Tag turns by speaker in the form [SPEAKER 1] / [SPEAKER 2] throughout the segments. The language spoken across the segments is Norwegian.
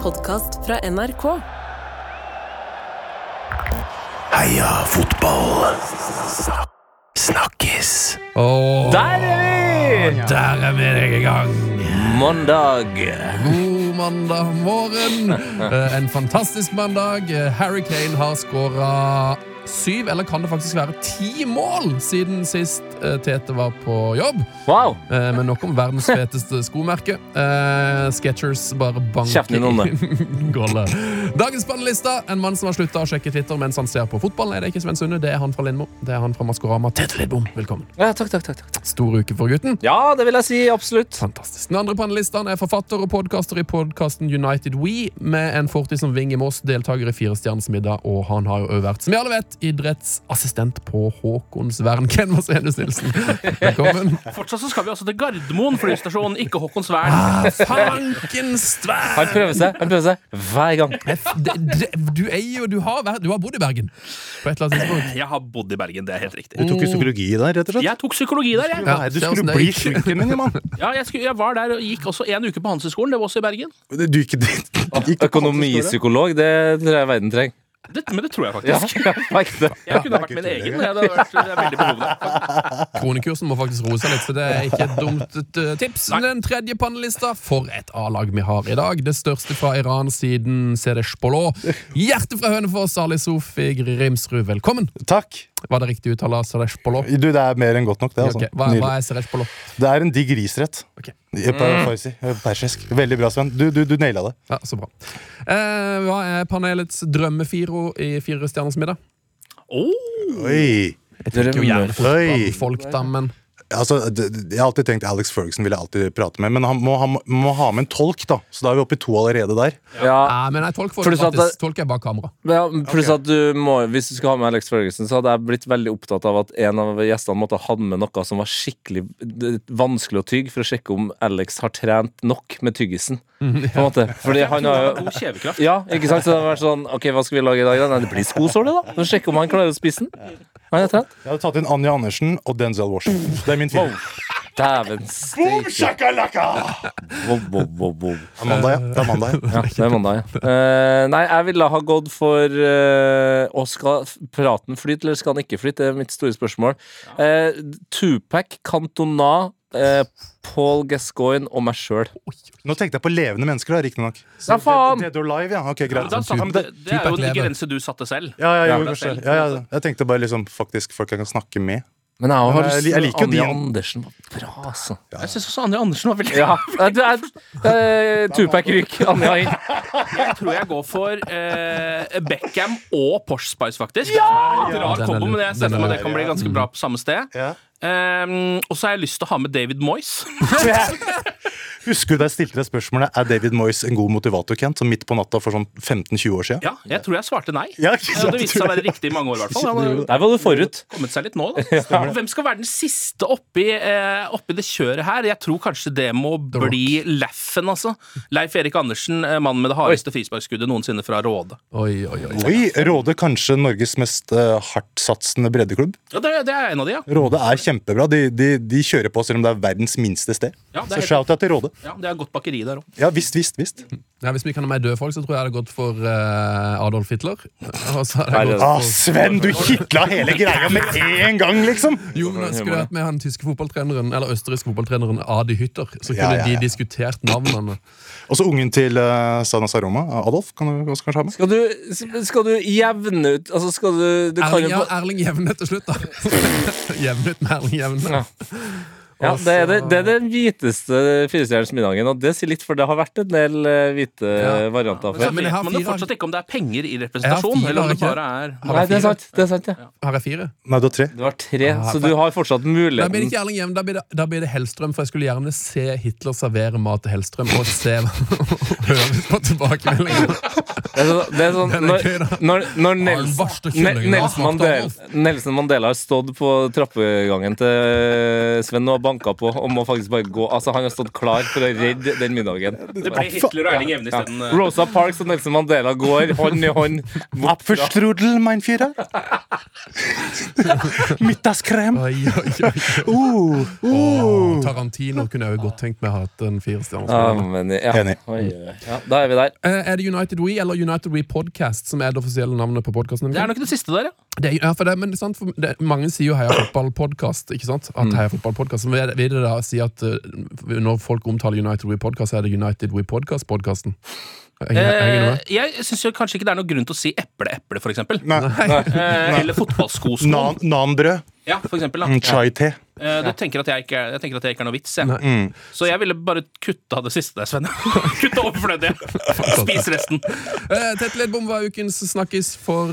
[SPEAKER 1] podkast fra NRK.
[SPEAKER 2] Heia fotball! Snakkes!
[SPEAKER 3] Der er vi!
[SPEAKER 2] Der er vi deg i gang.
[SPEAKER 3] Mandag.
[SPEAKER 2] God mandag morgen. Eh, En fantastisk mandag. Eh, Harry Kane har skåra syv, eller kan det faktisk være ti mål siden sist eh, Tete var på jobb.
[SPEAKER 3] Wow.
[SPEAKER 2] Eh, Men nok om verdens feteste skomerke. Eh, Skechers bare
[SPEAKER 3] Kjeften
[SPEAKER 2] banker
[SPEAKER 3] din om
[SPEAKER 2] inn gullet. Dagens panelista, en mann som har slutta å sjekke Twitter mens han ser på fotball. Nei, det er ikke Sven Sunde, det er han fra Lindmo. Det er han fra Maskorama. Tete Lidbom, velkommen.
[SPEAKER 3] Ja, takk, takk, takk, takk.
[SPEAKER 2] Stor uke for gutten.
[SPEAKER 3] Ja, det vil jeg si. Absolutt.
[SPEAKER 2] Fantastisk. Den andre panelisten er forfatter og podkaster i podkasten United We, med en fortid som Ving i Moss, deltaker i Firestjerners middag, og han har jo også vært, som vi alle vet, idrettsassistent på Haakonsvern. Ken Vasenus Nilsen, velkommen.
[SPEAKER 4] Fortsatt så skal vi altså til Gardermoen flystasjon, ikke Håkonsvern.
[SPEAKER 2] Fankens tvær!
[SPEAKER 3] Han prøver seg han prøver seg hver gang.
[SPEAKER 2] Du er jo Du har, vært, du har bodd i Bergen på et eller annet tidspunkt.
[SPEAKER 4] Jeg har bodd i Bergen, det er helt riktig.
[SPEAKER 5] Du tok
[SPEAKER 2] Mm.
[SPEAKER 5] jo psykologi der, rett og slett?
[SPEAKER 4] Jeg tok psykologi der, jeg.
[SPEAKER 5] Nei,
[SPEAKER 2] se
[SPEAKER 5] du
[SPEAKER 2] hvordan
[SPEAKER 5] skulle
[SPEAKER 2] det
[SPEAKER 5] bli
[SPEAKER 2] gikk.
[SPEAKER 5] sjukekriminell, mann.
[SPEAKER 4] Ja, jeg, skulle, jeg var der og gikk også en uke på Handelshøyskolen. Det var også i Bergen.
[SPEAKER 5] Du gikk dit. Gikk du på Handelshøyskolen?
[SPEAKER 3] Økonomipsykolog, det tror jeg verden trenger.
[SPEAKER 4] Det, men det tror jeg faktisk.
[SPEAKER 3] Ja, jeg merker det.
[SPEAKER 4] Jeg kunne vært min egen. Jeg, det hadde vært, jeg er veldig behov for det.
[SPEAKER 2] Kronekursen må faktisk roe seg litt, så det er ikke et dumt eh, tips. Den tredje panelista, for et A-lag vi har i dag. Det største fra Iran siden Sedesh Polo. Hjertet fra Hønefoss, Ali Sofi Grimsrud, velkommen.
[SPEAKER 5] Takk.
[SPEAKER 2] Var det riktig uttale? Sedesh Polo?
[SPEAKER 5] Du, det er mer enn godt nok, det. Altså.
[SPEAKER 2] Ok, Hva, hva
[SPEAKER 5] Nydelig.
[SPEAKER 2] er Mm. Sedesh Polo?
[SPEAKER 5] Det er en digg risrett.
[SPEAKER 2] Ok.
[SPEAKER 5] I- på farsi. eh, Persisk. Veldig bra, Sven. Du, du, du naila det.
[SPEAKER 2] Ja, så bra. Eh, hva er panelets drømmefiro i Fire stjerners middag?
[SPEAKER 4] Åh,
[SPEAKER 5] Oi.
[SPEAKER 2] Jeg tenker jo gjerne
[SPEAKER 5] Oi.
[SPEAKER 2] fotballfolk, da, men
[SPEAKER 5] Altså, d- d- jeg har alltid tenkt Alex Ferguson ville jeg alltid prate med, men han må, han må ha med en tolk, da. Så da er vi oppe i to allerede der.
[SPEAKER 3] Ja,
[SPEAKER 2] Nei, men nei, tolk får
[SPEAKER 3] For
[SPEAKER 2] du
[SPEAKER 3] du sa at
[SPEAKER 2] gratis.
[SPEAKER 3] det-
[SPEAKER 2] Tolk er bak kamera.
[SPEAKER 3] ja, pluss at du må, Hvis du skal ha med Alex Ferguson, så hadde jeg blitt veldig opptatt av at en av gjestene måtte ha hatt med noe som var skikkelig d- vanskelig å tygge, for å sjekke om Alex har trent nok med tyggisen. På en måte. Fordi han eh, har jo
[SPEAKER 4] god kjevekraft.
[SPEAKER 3] Ja, ikke sant? Så det har vært sånn Ok, hva skal vi lage i dag? da? Nei, det blir skosåle, da. Så sjekke om han klarer å spise den. Han er trent.
[SPEAKER 5] Jeg hadde tatt inn Anja Andersen og Denzel Washington. Det er min film.
[SPEAKER 3] Dæven steike. Wow, wow, wow, wow.
[SPEAKER 5] Det er mandag, ja. Det er mandag, ja.
[SPEAKER 3] Ja, det er mandag, ja. Eh, nei, jeg ville ha gått for uh, Og skal f- praten flyte, eller skal den ikke flyte? Det er mitt store spørsmål. Eh, Tupac, Cantona, eh, Paul Gascoigne og meg sjøl.
[SPEAKER 5] Nå tenkte jeg på levende mennesker, da, riktignok.
[SPEAKER 3] Ja, faen!
[SPEAKER 5] Dead or Alive, ja. Ok, greit.
[SPEAKER 4] Da satt, det, det er jo en grense du satte selv.
[SPEAKER 5] Ja, ja, jo,
[SPEAKER 4] Ja.
[SPEAKER 5] kanskje. Ja, ja, jeg tenkte bare liksom faktisk folk jeg kan snakke med.
[SPEAKER 3] Men jeg, har
[SPEAKER 5] Men eh, jeg- jeg liker jo de-
[SPEAKER 3] Anja Andersen var bra, altså.
[SPEAKER 4] Jeg syns også Anja Andersen var veldig
[SPEAKER 3] Ja. eh, du, eh, Tupac ryker, Anja inn.
[SPEAKER 4] Jeg tror jeg går for eh, Beckham og Porsche Spice, faktisk. Litt
[SPEAKER 2] Den
[SPEAKER 4] Rar
[SPEAKER 2] er
[SPEAKER 4] kombo,
[SPEAKER 2] lur.
[SPEAKER 4] men jeg ser
[SPEAKER 2] Den er
[SPEAKER 4] for meg
[SPEAKER 2] lur.
[SPEAKER 4] det kan bli ganske bra på samme sted.
[SPEAKER 5] Ja.
[SPEAKER 4] Ehm, og så har jeg lyst til å ha med David Moyes.
[SPEAKER 5] Husker du da jeg stilte deg spørsmålet Er David Moyes en god motivator, Kent? Som midt på natta for sånn 15-20 år siden?
[SPEAKER 4] Ja, jeg tror jeg svarte nei.
[SPEAKER 5] Ja, ikke
[SPEAKER 4] Så
[SPEAKER 5] sant?
[SPEAKER 4] det viste seg å være riktig i mange år, i hvert fall. Han har jo
[SPEAKER 3] Der var du forut.
[SPEAKER 4] kommet seg litt nå, da. Hvem skal være den siste oppi, eh, oppi det kjøret her? Jeg tror kanskje det må bli Leffen, altså. Leif Erik Andersen, eh, mannen med det hardeste frisparkskuddet noensinne fra Råde.
[SPEAKER 2] Oi, oi, oi.
[SPEAKER 5] Oi, Råde kanskje Norges mest eh, hardtsatsende breddeklubb.
[SPEAKER 4] Ja, det, det er en av de, ja.
[SPEAKER 5] Råde er kjempebra. De, de, de kjører på selv om det er verdens minste sted.
[SPEAKER 4] Ja, det er
[SPEAKER 5] Så
[SPEAKER 4] helt-
[SPEAKER 5] shout-out til Råde.
[SPEAKER 4] ja. Det er godt bakeri der òg.
[SPEAKER 5] Ja visst, visst, visst.
[SPEAKER 2] Ja, hvis vi kan ha med døde folk, så tror jeg jeg hadde gått for eh, Adolf Hitler. Og så hadde jeg
[SPEAKER 3] Nei,
[SPEAKER 2] gått
[SPEAKER 5] Ah,
[SPEAKER 2] for,
[SPEAKER 5] Sven, du kitla hele greia med en gang, liksom!
[SPEAKER 2] jo, men da Skulle jeg vært med han tyske fotballtreneren Eller østerrikske fotballtreneren Adi Hytter, så kunne
[SPEAKER 5] Ja, ja, ja.
[SPEAKER 2] de diskutert navnene.
[SPEAKER 5] Og så ungen til uh, Sana Saroma, Adolf, kan du også kanskje ha med?
[SPEAKER 3] Skal du, skal du jevne ut Altså, skal du, du kan
[SPEAKER 2] Erling,
[SPEAKER 3] jo
[SPEAKER 2] ja,
[SPEAKER 3] på-
[SPEAKER 2] Erling Jevne til slutt, da. Jevne ut med Erling Jevne.
[SPEAKER 3] Ja. ja, det, er det, det er den hviteste firestjerners middagen, og det sier litt, for det har vært en del eh, hvite eh, varianter
[SPEAKER 4] Så
[SPEAKER 2] Ja,
[SPEAKER 3] før.
[SPEAKER 2] men jeg
[SPEAKER 4] vet
[SPEAKER 2] har
[SPEAKER 4] man jo
[SPEAKER 2] fire-
[SPEAKER 4] fortsatt ikke om det er penger i representasjon,
[SPEAKER 2] Jeg har fire,
[SPEAKER 4] eller om det
[SPEAKER 2] har jeg
[SPEAKER 4] bare er
[SPEAKER 3] Nei, det er sant. det er sant, ja
[SPEAKER 2] Har jeg fire?
[SPEAKER 5] Nei, du har tre.
[SPEAKER 3] Du har tre, så du har fortsatt
[SPEAKER 2] Da blir det
[SPEAKER 3] muligheten.
[SPEAKER 2] ikke Erling Jevne, da blir det, da blir det Hellstrøm. For jeg skulle gjerne se Hitler servere mat til Hellstrøm, og se høre på tilbakemeldingene.
[SPEAKER 3] Det er sånn, det er
[SPEAKER 2] Den
[SPEAKER 3] sånn,
[SPEAKER 2] er
[SPEAKER 3] når
[SPEAKER 2] gøy, da.
[SPEAKER 3] når, når Nels,
[SPEAKER 2] den verste
[SPEAKER 3] Ne-
[SPEAKER 2] kyllingen jeg har
[SPEAKER 3] Nelson,
[SPEAKER 2] smakt,
[SPEAKER 3] Mandela,
[SPEAKER 2] Adolf.
[SPEAKER 3] Nelson Mandela har stått på trappegangen til eh, Sven og banka på og må faktisk bare gå. Altså, han har stått klar for å redde den middagen.
[SPEAKER 4] Det ble Hitler og Erling Evne
[SPEAKER 3] Ja.
[SPEAKER 4] isteden.
[SPEAKER 3] Rosa Parks og Nelson Mandela går hånd i hånd. bort fra-
[SPEAKER 5] Apfelstrudel, mein Führer. Middagskrem!
[SPEAKER 2] Oi, oi, oi. Åh,
[SPEAKER 5] Uh, uh.
[SPEAKER 2] Tarantino kunne jeg jo godt tenkt meg å ha hatt en firestjerners
[SPEAKER 3] Ja,
[SPEAKER 2] film.
[SPEAKER 3] Ah, men, ja.
[SPEAKER 5] Enig.
[SPEAKER 3] Oi, oi, oi. ja, da er vi der.
[SPEAKER 2] Eh, Er det United We eller United We Podcast som er det offisielle navnet på podkasten?
[SPEAKER 4] Det er nok det siste der, ja.
[SPEAKER 2] Det er, ja, for det, men det er sant, for det, mange sier jo Heia fotballpodkast. ikke sant?
[SPEAKER 4] Mm.
[SPEAKER 2] At Heia fotballpodkast, så vil vil det da si at eh, Når folk omtaler United We Podcast, så er det United We Podcast-podkasten.
[SPEAKER 4] Eh,
[SPEAKER 2] Henger
[SPEAKER 4] jeg syns kanskje ikke det er noen grunn til å si eple-eple, for eksempel.
[SPEAKER 5] Nei.
[SPEAKER 4] Eh, eller fotballskosko.
[SPEAKER 5] Nan- Nanbrød.
[SPEAKER 4] Ja, for eksempel, da.
[SPEAKER 5] Mm, Chai te.
[SPEAKER 4] Eh, du tenker at jeg ikke er, jeg tenker at jeg ikke er noe vits, jeg.
[SPEAKER 2] Nei.
[SPEAKER 5] Mm.
[SPEAKER 4] Så jeg ville bare kutta det siste der, Sven. Kutta overflødige. Spis resten.
[SPEAKER 2] Eh, Tett Ledbom var ukens snakkis for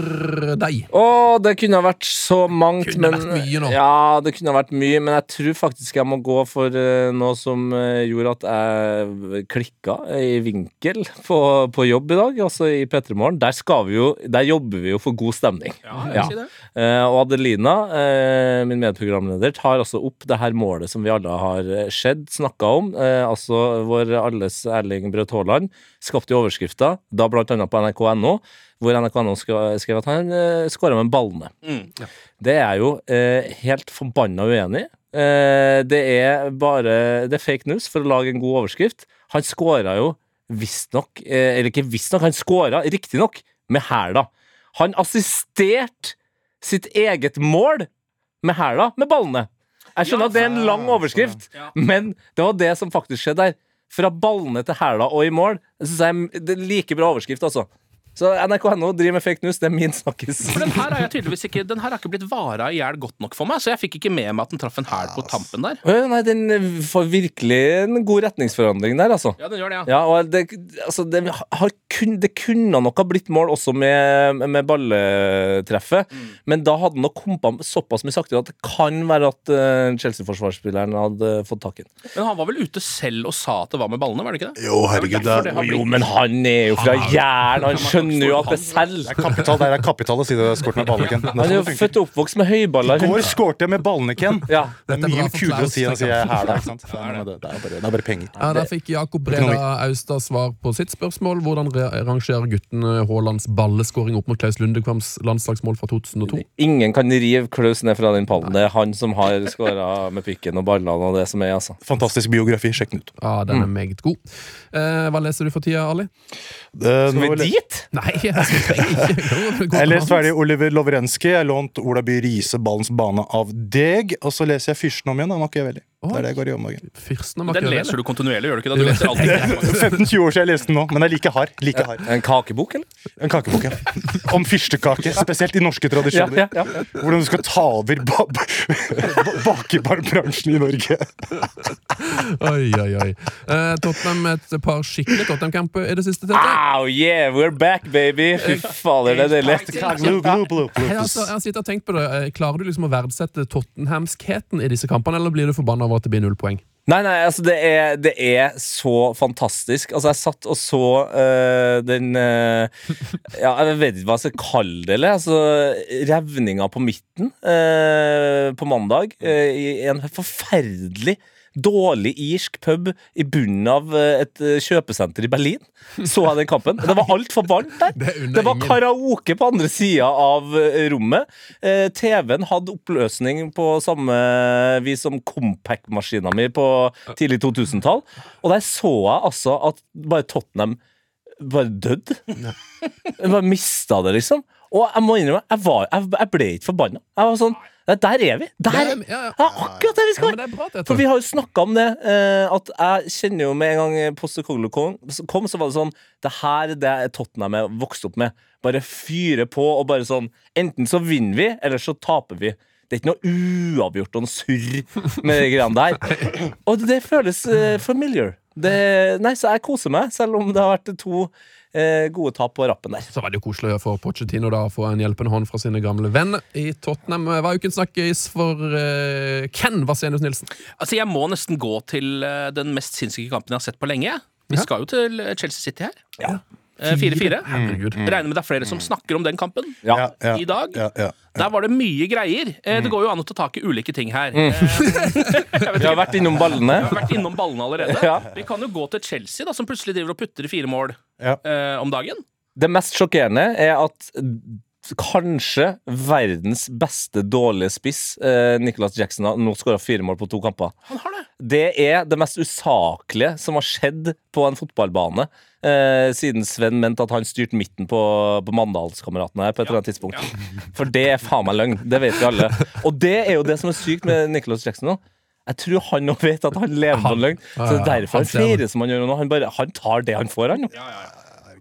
[SPEAKER 2] deg.
[SPEAKER 3] Å, det kunne ha vært så mangt,
[SPEAKER 2] Kunne
[SPEAKER 3] men
[SPEAKER 2] vært mye nå.
[SPEAKER 3] Ja, det kunne ha vært mye, men jeg tror faktisk jeg må gå for eh, noe som eh, gjorde at jeg klikka i vinkel på, på jobb i dag, altså i P3 Morgen. Der skal vi jo Der jobber vi jo for god stemning. Ja.
[SPEAKER 4] Si det.
[SPEAKER 3] Eh, og Adelina, eh, min medprogramleder, tar altså opp det her målet som vi alle har eh, sett, snakka om. Eh, altså vår alles Erling Braut Haaland skapte jo overskrifter, da blant annet på nrk.no, hvor nrk.no sk- skrev at han eh, skåra med ballene.
[SPEAKER 4] Mm, ja.
[SPEAKER 3] Det er jeg jo eh, helt forbanna uenig i. Eh, det er bare Det er fake news for å lage en god overskrift. Han skåra jo visstnok eh, Eller ikke visstnok, han skåra riktignok med hæla. Han assisterte sitt eget mål med hæla, med ballene. Jeg skjønner
[SPEAKER 4] Ja,
[SPEAKER 3] at det er en lang overskrift,
[SPEAKER 4] ja.
[SPEAKER 3] men det var det som faktisk skjedde der. Fra ballene til hæla og i mål. Det synes jeg er- det er like bra overskrift, altså. Så nrk.no driver med fake news. Det er min snakkis.
[SPEAKER 4] For den her har jeg tydeligvis ikke Den her har ikke blitt vara i hjel godt nok for meg, så jeg fikk ikke med meg at den traff en hæl på tampen der.
[SPEAKER 3] Å ja, Nei, den eh, får virkelig en god retningsforandring der, altså.
[SPEAKER 4] Ja, den gjør det, ja.
[SPEAKER 3] Ja, og det, altså, det, har kun, det kunne nok ha blitt mål også med, med balletreffet, men da hadde han nok kompa såpass mye saktere at det kan være at eh, Chelsea-forsvarsspilleren hadde fått tak i den.
[SPEAKER 4] Men han var vel ute selv og sa at det var med ballene, var det ikke det?
[SPEAKER 5] Jo, herregud. Det
[SPEAKER 4] Det
[SPEAKER 5] er,
[SPEAKER 4] har
[SPEAKER 3] Jo,
[SPEAKER 4] blitt-
[SPEAKER 3] men han er jo fra Jæren, han skjønner jo at det er
[SPEAKER 5] det
[SPEAKER 3] selv.
[SPEAKER 5] er kapital, det er kapital å si det skåret med ballene, Ken.
[SPEAKER 3] Han er jo født og oppvokst med høyballer.
[SPEAKER 5] Går skårte jeg med ballene, Ken.
[SPEAKER 3] Ja.
[SPEAKER 5] Det
[SPEAKER 2] Dette er
[SPEAKER 5] er
[SPEAKER 2] bra
[SPEAKER 5] mye
[SPEAKER 2] for
[SPEAKER 5] kulere å
[SPEAKER 2] Klaus,
[SPEAKER 5] si enn å si jeg
[SPEAKER 2] tenker
[SPEAKER 5] er her, da. Ikke sant? Det er bare, det er bare penger.
[SPEAKER 2] Ja, Der fikk Jakob Breda Austad svar på sitt spørsmål. Hvordan re- rangerer guttene Haalands balleskåring opp mot Klaus Lundekvams landslagsmål fra 2002?
[SPEAKER 3] Ingen kan rive Klaus ned fra den pallen. Det er han som har skåra med pikken og ballene og det som er, altså.
[SPEAKER 5] Fantastisk biografi. Sjekk den ut.
[SPEAKER 2] Ja, Den er meget god. Eh, hva leser du for tida, Ali?
[SPEAKER 5] Skal
[SPEAKER 3] dit?
[SPEAKER 2] Nei, jeg trenger ikke
[SPEAKER 5] Jeg leste ferdig Oliver Lovrenskij. Jeg lånte Ola By Riise Ballens bane av deg. Og så leser jeg Fyrsten om igjen av Machiavelli. Det er det jeg går i om dagen.
[SPEAKER 2] Fyrsten av
[SPEAKER 4] Den
[SPEAKER 2] Machiavelli.
[SPEAKER 4] leser du kontinuerlig, gjør du ikke det? Du leser alltid
[SPEAKER 5] 15-20 år siden jeg leste den nå, men jeg er like hard. Like hard.
[SPEAKER 3] En kakebok, eller?
[SPEAKER 5] En kakebok, ja. Om fyrstekake. Spesielt i norske tradisjoner.
[SPEAKER 3] Ja, ja, ja.
[SPEAKER 5] Hvordan du skal ta over ba ba bakebarbransjen i Norge.
[SPEAKER 2] Oi, oi, oi. Eh, Tottenham et par skikkelige Tottenham-kamper i det siste. Tete.
[SPEAKER 3] Ow, yeah, we're back, baby! Fy fader, det er deilig.
[SPEAKER 2] Jeg, altså, jeg sitter og tenker på det. Eh, Klarer du liksom å verdsette Tottenhamskheten i disse kampene, eller blir du forbanna over at det blir null poeng?
[SPEAKER 3] Nei, nei, altså, det er, det er så fantastisk. Altså, jeg satt og så øh, den øh, Ja, jeg vet ikke hva jeg skal kalle det, eller? Altså, revninga på midten øh, på mandag øh, i en forferdelig Dårlig irsk pub i bunnen av øh, et øh, kjøpesenter i Berlin. Så jeg den kampen. Det var altfor varmt der.
[SPEAKER 2] Det unner
[SPEAKER 3] Det var
[SPEAKER 2] ingen.
[SPEAKER 3] karaoke på andre sida av eh, rommet. Eh, TV-en hadde oppløsning på samme vis som Compact-maskina mi på tidlig 2000-tall. Og der så jeg altså at bare Tottenham bare døde. Jeg bare mista det, liksom. Og jeg må innrømme, jeg, var, jeg, jeg ble ikke forbanna. Jeg var sånn "Nei, Der er vi! Der!
[SPEAKER 2] Ja,
[SPEAKER 3] er
[SPEAKER 2] ja, ja.
[SPEAKER 3] akkurat der vi
[SPEAKER 2] Ja,
[SPEAKER 3] skal
[SPEAKER 2] men det er bra, Tete.
[SPEAKER 3] for vi har jo snakka om det, eh, at jeg kjenner jo med en gang Postecoglo kom, kom, så var det sånn Det her er det Tottenham er vokst opp med. Bare fyre på og bare sånn Enten så vinner vi, eller så taper vi. Det er ikke noe uavgjort og noe surr med de greiene der. Og det føles eh, familiar. Det, nei, så jeg koser meg, selv om det har vært to eh, gode tap på rappen der.
[SPEAKER 2] Så var det jo koselig for Pochettino da, å få en hjelpende hånd fra sine gamle venner i Tottenham. Hva er ukens snakkis for eh, Ken Vasenius Nilsen?
[SPEAKER 4] Altså, jeg må nesten gå til eh, den mest sinnssyke kampen jeg har sett på lenge. Vi
[SPEAKER 2] Ja.
[SPEAKER 4] skal jo til eh, Chelsea City her.
[SPEAKER 3] Ja.
[SPEAKER 4] Eh, 4-4.
[SPEAKER 2] Herregud.
[SPEAKER 4] Regner med det er flere som snakker om den kampen.
[SPEAKER 5] Ja, ja,
[SPEAKER 4] I dag?
[SPEAKER 5] Ja, ja.
[SPEAKER 4] Der var det mye greier. Eh, Det går jo an å ta tak i ulike ting her. Eh,
[SPEAKER 3] Vi har vært innom ballene.
[SPEAKER 4] Vi har vært innom ballene allerede.
[SPEAKER 3] Ja.
[SPEAKER 4] Vi kan jo gå til Chelsea, da, som plutselig driver og putter i fire mål
[SPEAKER 5] Ja.
[SPEAKER 4] eh, om dagen.
[SPEAKER 3] Det mest sjokkerende er at kanskje verdens beste dårlige spiss, eh, Nicholas Jackson, har nå skåra fire mål på to kamper.
[SPEAKER 4] Han har det.
[SPEAKER 3] Det er det mest usaklige som har skjedd på en fotballbane eh, siden Sven mente at han styrte midten på, på Mandalskameratene her på et eller annet tidspunkt. For det er faen meg løgn. Det vet vi alle. Og det er jo det som er sykt med Nicholas Jackson nå. Jeg tror han òg vet at han lever på en løgn. Så det er derfor han flirer som han gjør nå. Han, bare, han tar det han får, han. nå.
[SPEAKER 4] Ja, ja, ja.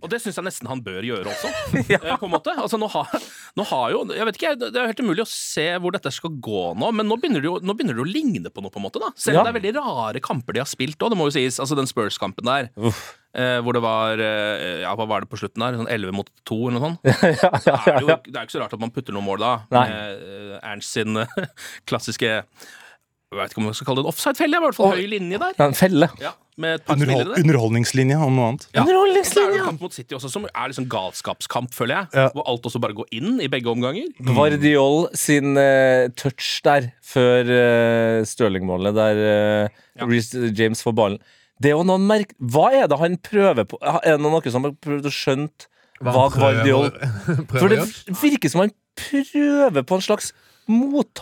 [SPEAKER 4] Og det syns jeg nesten han bør gjøre også. eh, På en måte. Altså, nå, har, nå har jo Jeg vet ikke, jeg- Det er jo helt umulig å se hvor dette skal gå nå, men nå begynner det jo, nå begynner det å ligne på noe. på en måte da Selv om
[SPEAKER 3] Ja.
[SPEAKER 4] det er veldig rare kamper de har spilt òg, det må jo sies. Altså Den Spurs-kampen der, eh, hvor det var eh, Ja, hva var det på slutten der? Sånn 11 mot 2 eller noe sånt. Da er det, jo, det er jo ikke så rart at man putter noen mål da.
[SPEAKER 3] Nei.
[SPEAKER 4] Eh, Ernst sin eh, klassiske Jeg vet ikke om man skal kalle det en offside-felle, i hvert fall høy linje der.
[SPEAKER 3] Det er en felle.
[SPEAKER 4] Ja, med et par spillere
[SPEAKER 5] Underhold,
[SPEAKER 4] der.
[SPEAKER 5] underholdningslinja, om noe annet.
[SPEAKER 4] Ja. Så er det jo
[SPEAKER 3] Underholdningslinja!
[SPEAKER 4] kamp mot City også, som er liksom galskapskamp, føler jeg.
[SPEAKER 5] Ja.
[SPEAKER 4] Hvor alt også bare går inn i begge omganger.
[SPEAKER 3] Guardiol sin eh, touch der før eh, Stirling-målet, der eh,
[SPEAKER 4] Ja.
[SPEAKER 3] Reece James får ballen Det er jo noen merk... Hva er det han prøver på? Er det noen som har prøvd å skjønne hva Guardiol For
[SPEAKER 2] prøver å
[SPEAKER 3] det
[SPEAKER 2] gjøre?
[SPEAKER 3] virker som han prøver på en slags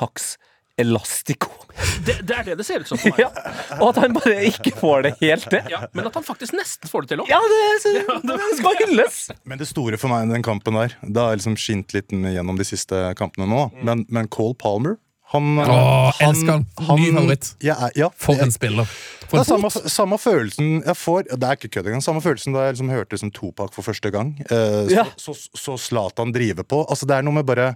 [SPEAKER 3] mottakselastiko.
[SPEAKER 4] Det, det er det det ser ut som for meg.
[SPEAKER 3] Ja. Og at han bare ikke får det helt til.
[SPEAKER 4] Ja, men at han faktisk nesten får det til òg.
[SPEAKER 3] Ja, det, det skal hylles!
[SPEAKER 5] Men det store for meg i den kampen der Det har liksom skint litt gjennom de siste kampene nå. Men, men Cole Palmer han,
[SPEAKER 2] Åh, elsker han. Ny favoritt.
[SPEAKER 5] Jeg er- ja,
[SPEAKER 2] For
[SPEAKER 5] jeg-
[SPEAKER 2] en spiller.
[SPEAKER 5] det
[SPEAKER 2] For
[SPEAKER 5] er
[SPEAKER 2] en
[SPEAKER 5] samme,
[SPEAKER 2] fot.
[SPEAKER 5] samme følelsen jeg får Det er ikke kødd engang. Samme følelsen da jeg liksom hørte liksom Topak for første gang. Eh,
[SPEAKER 3] Ja.
[SPEAKER 5] Så så Zlatan drive på. Altså Det er noe med bare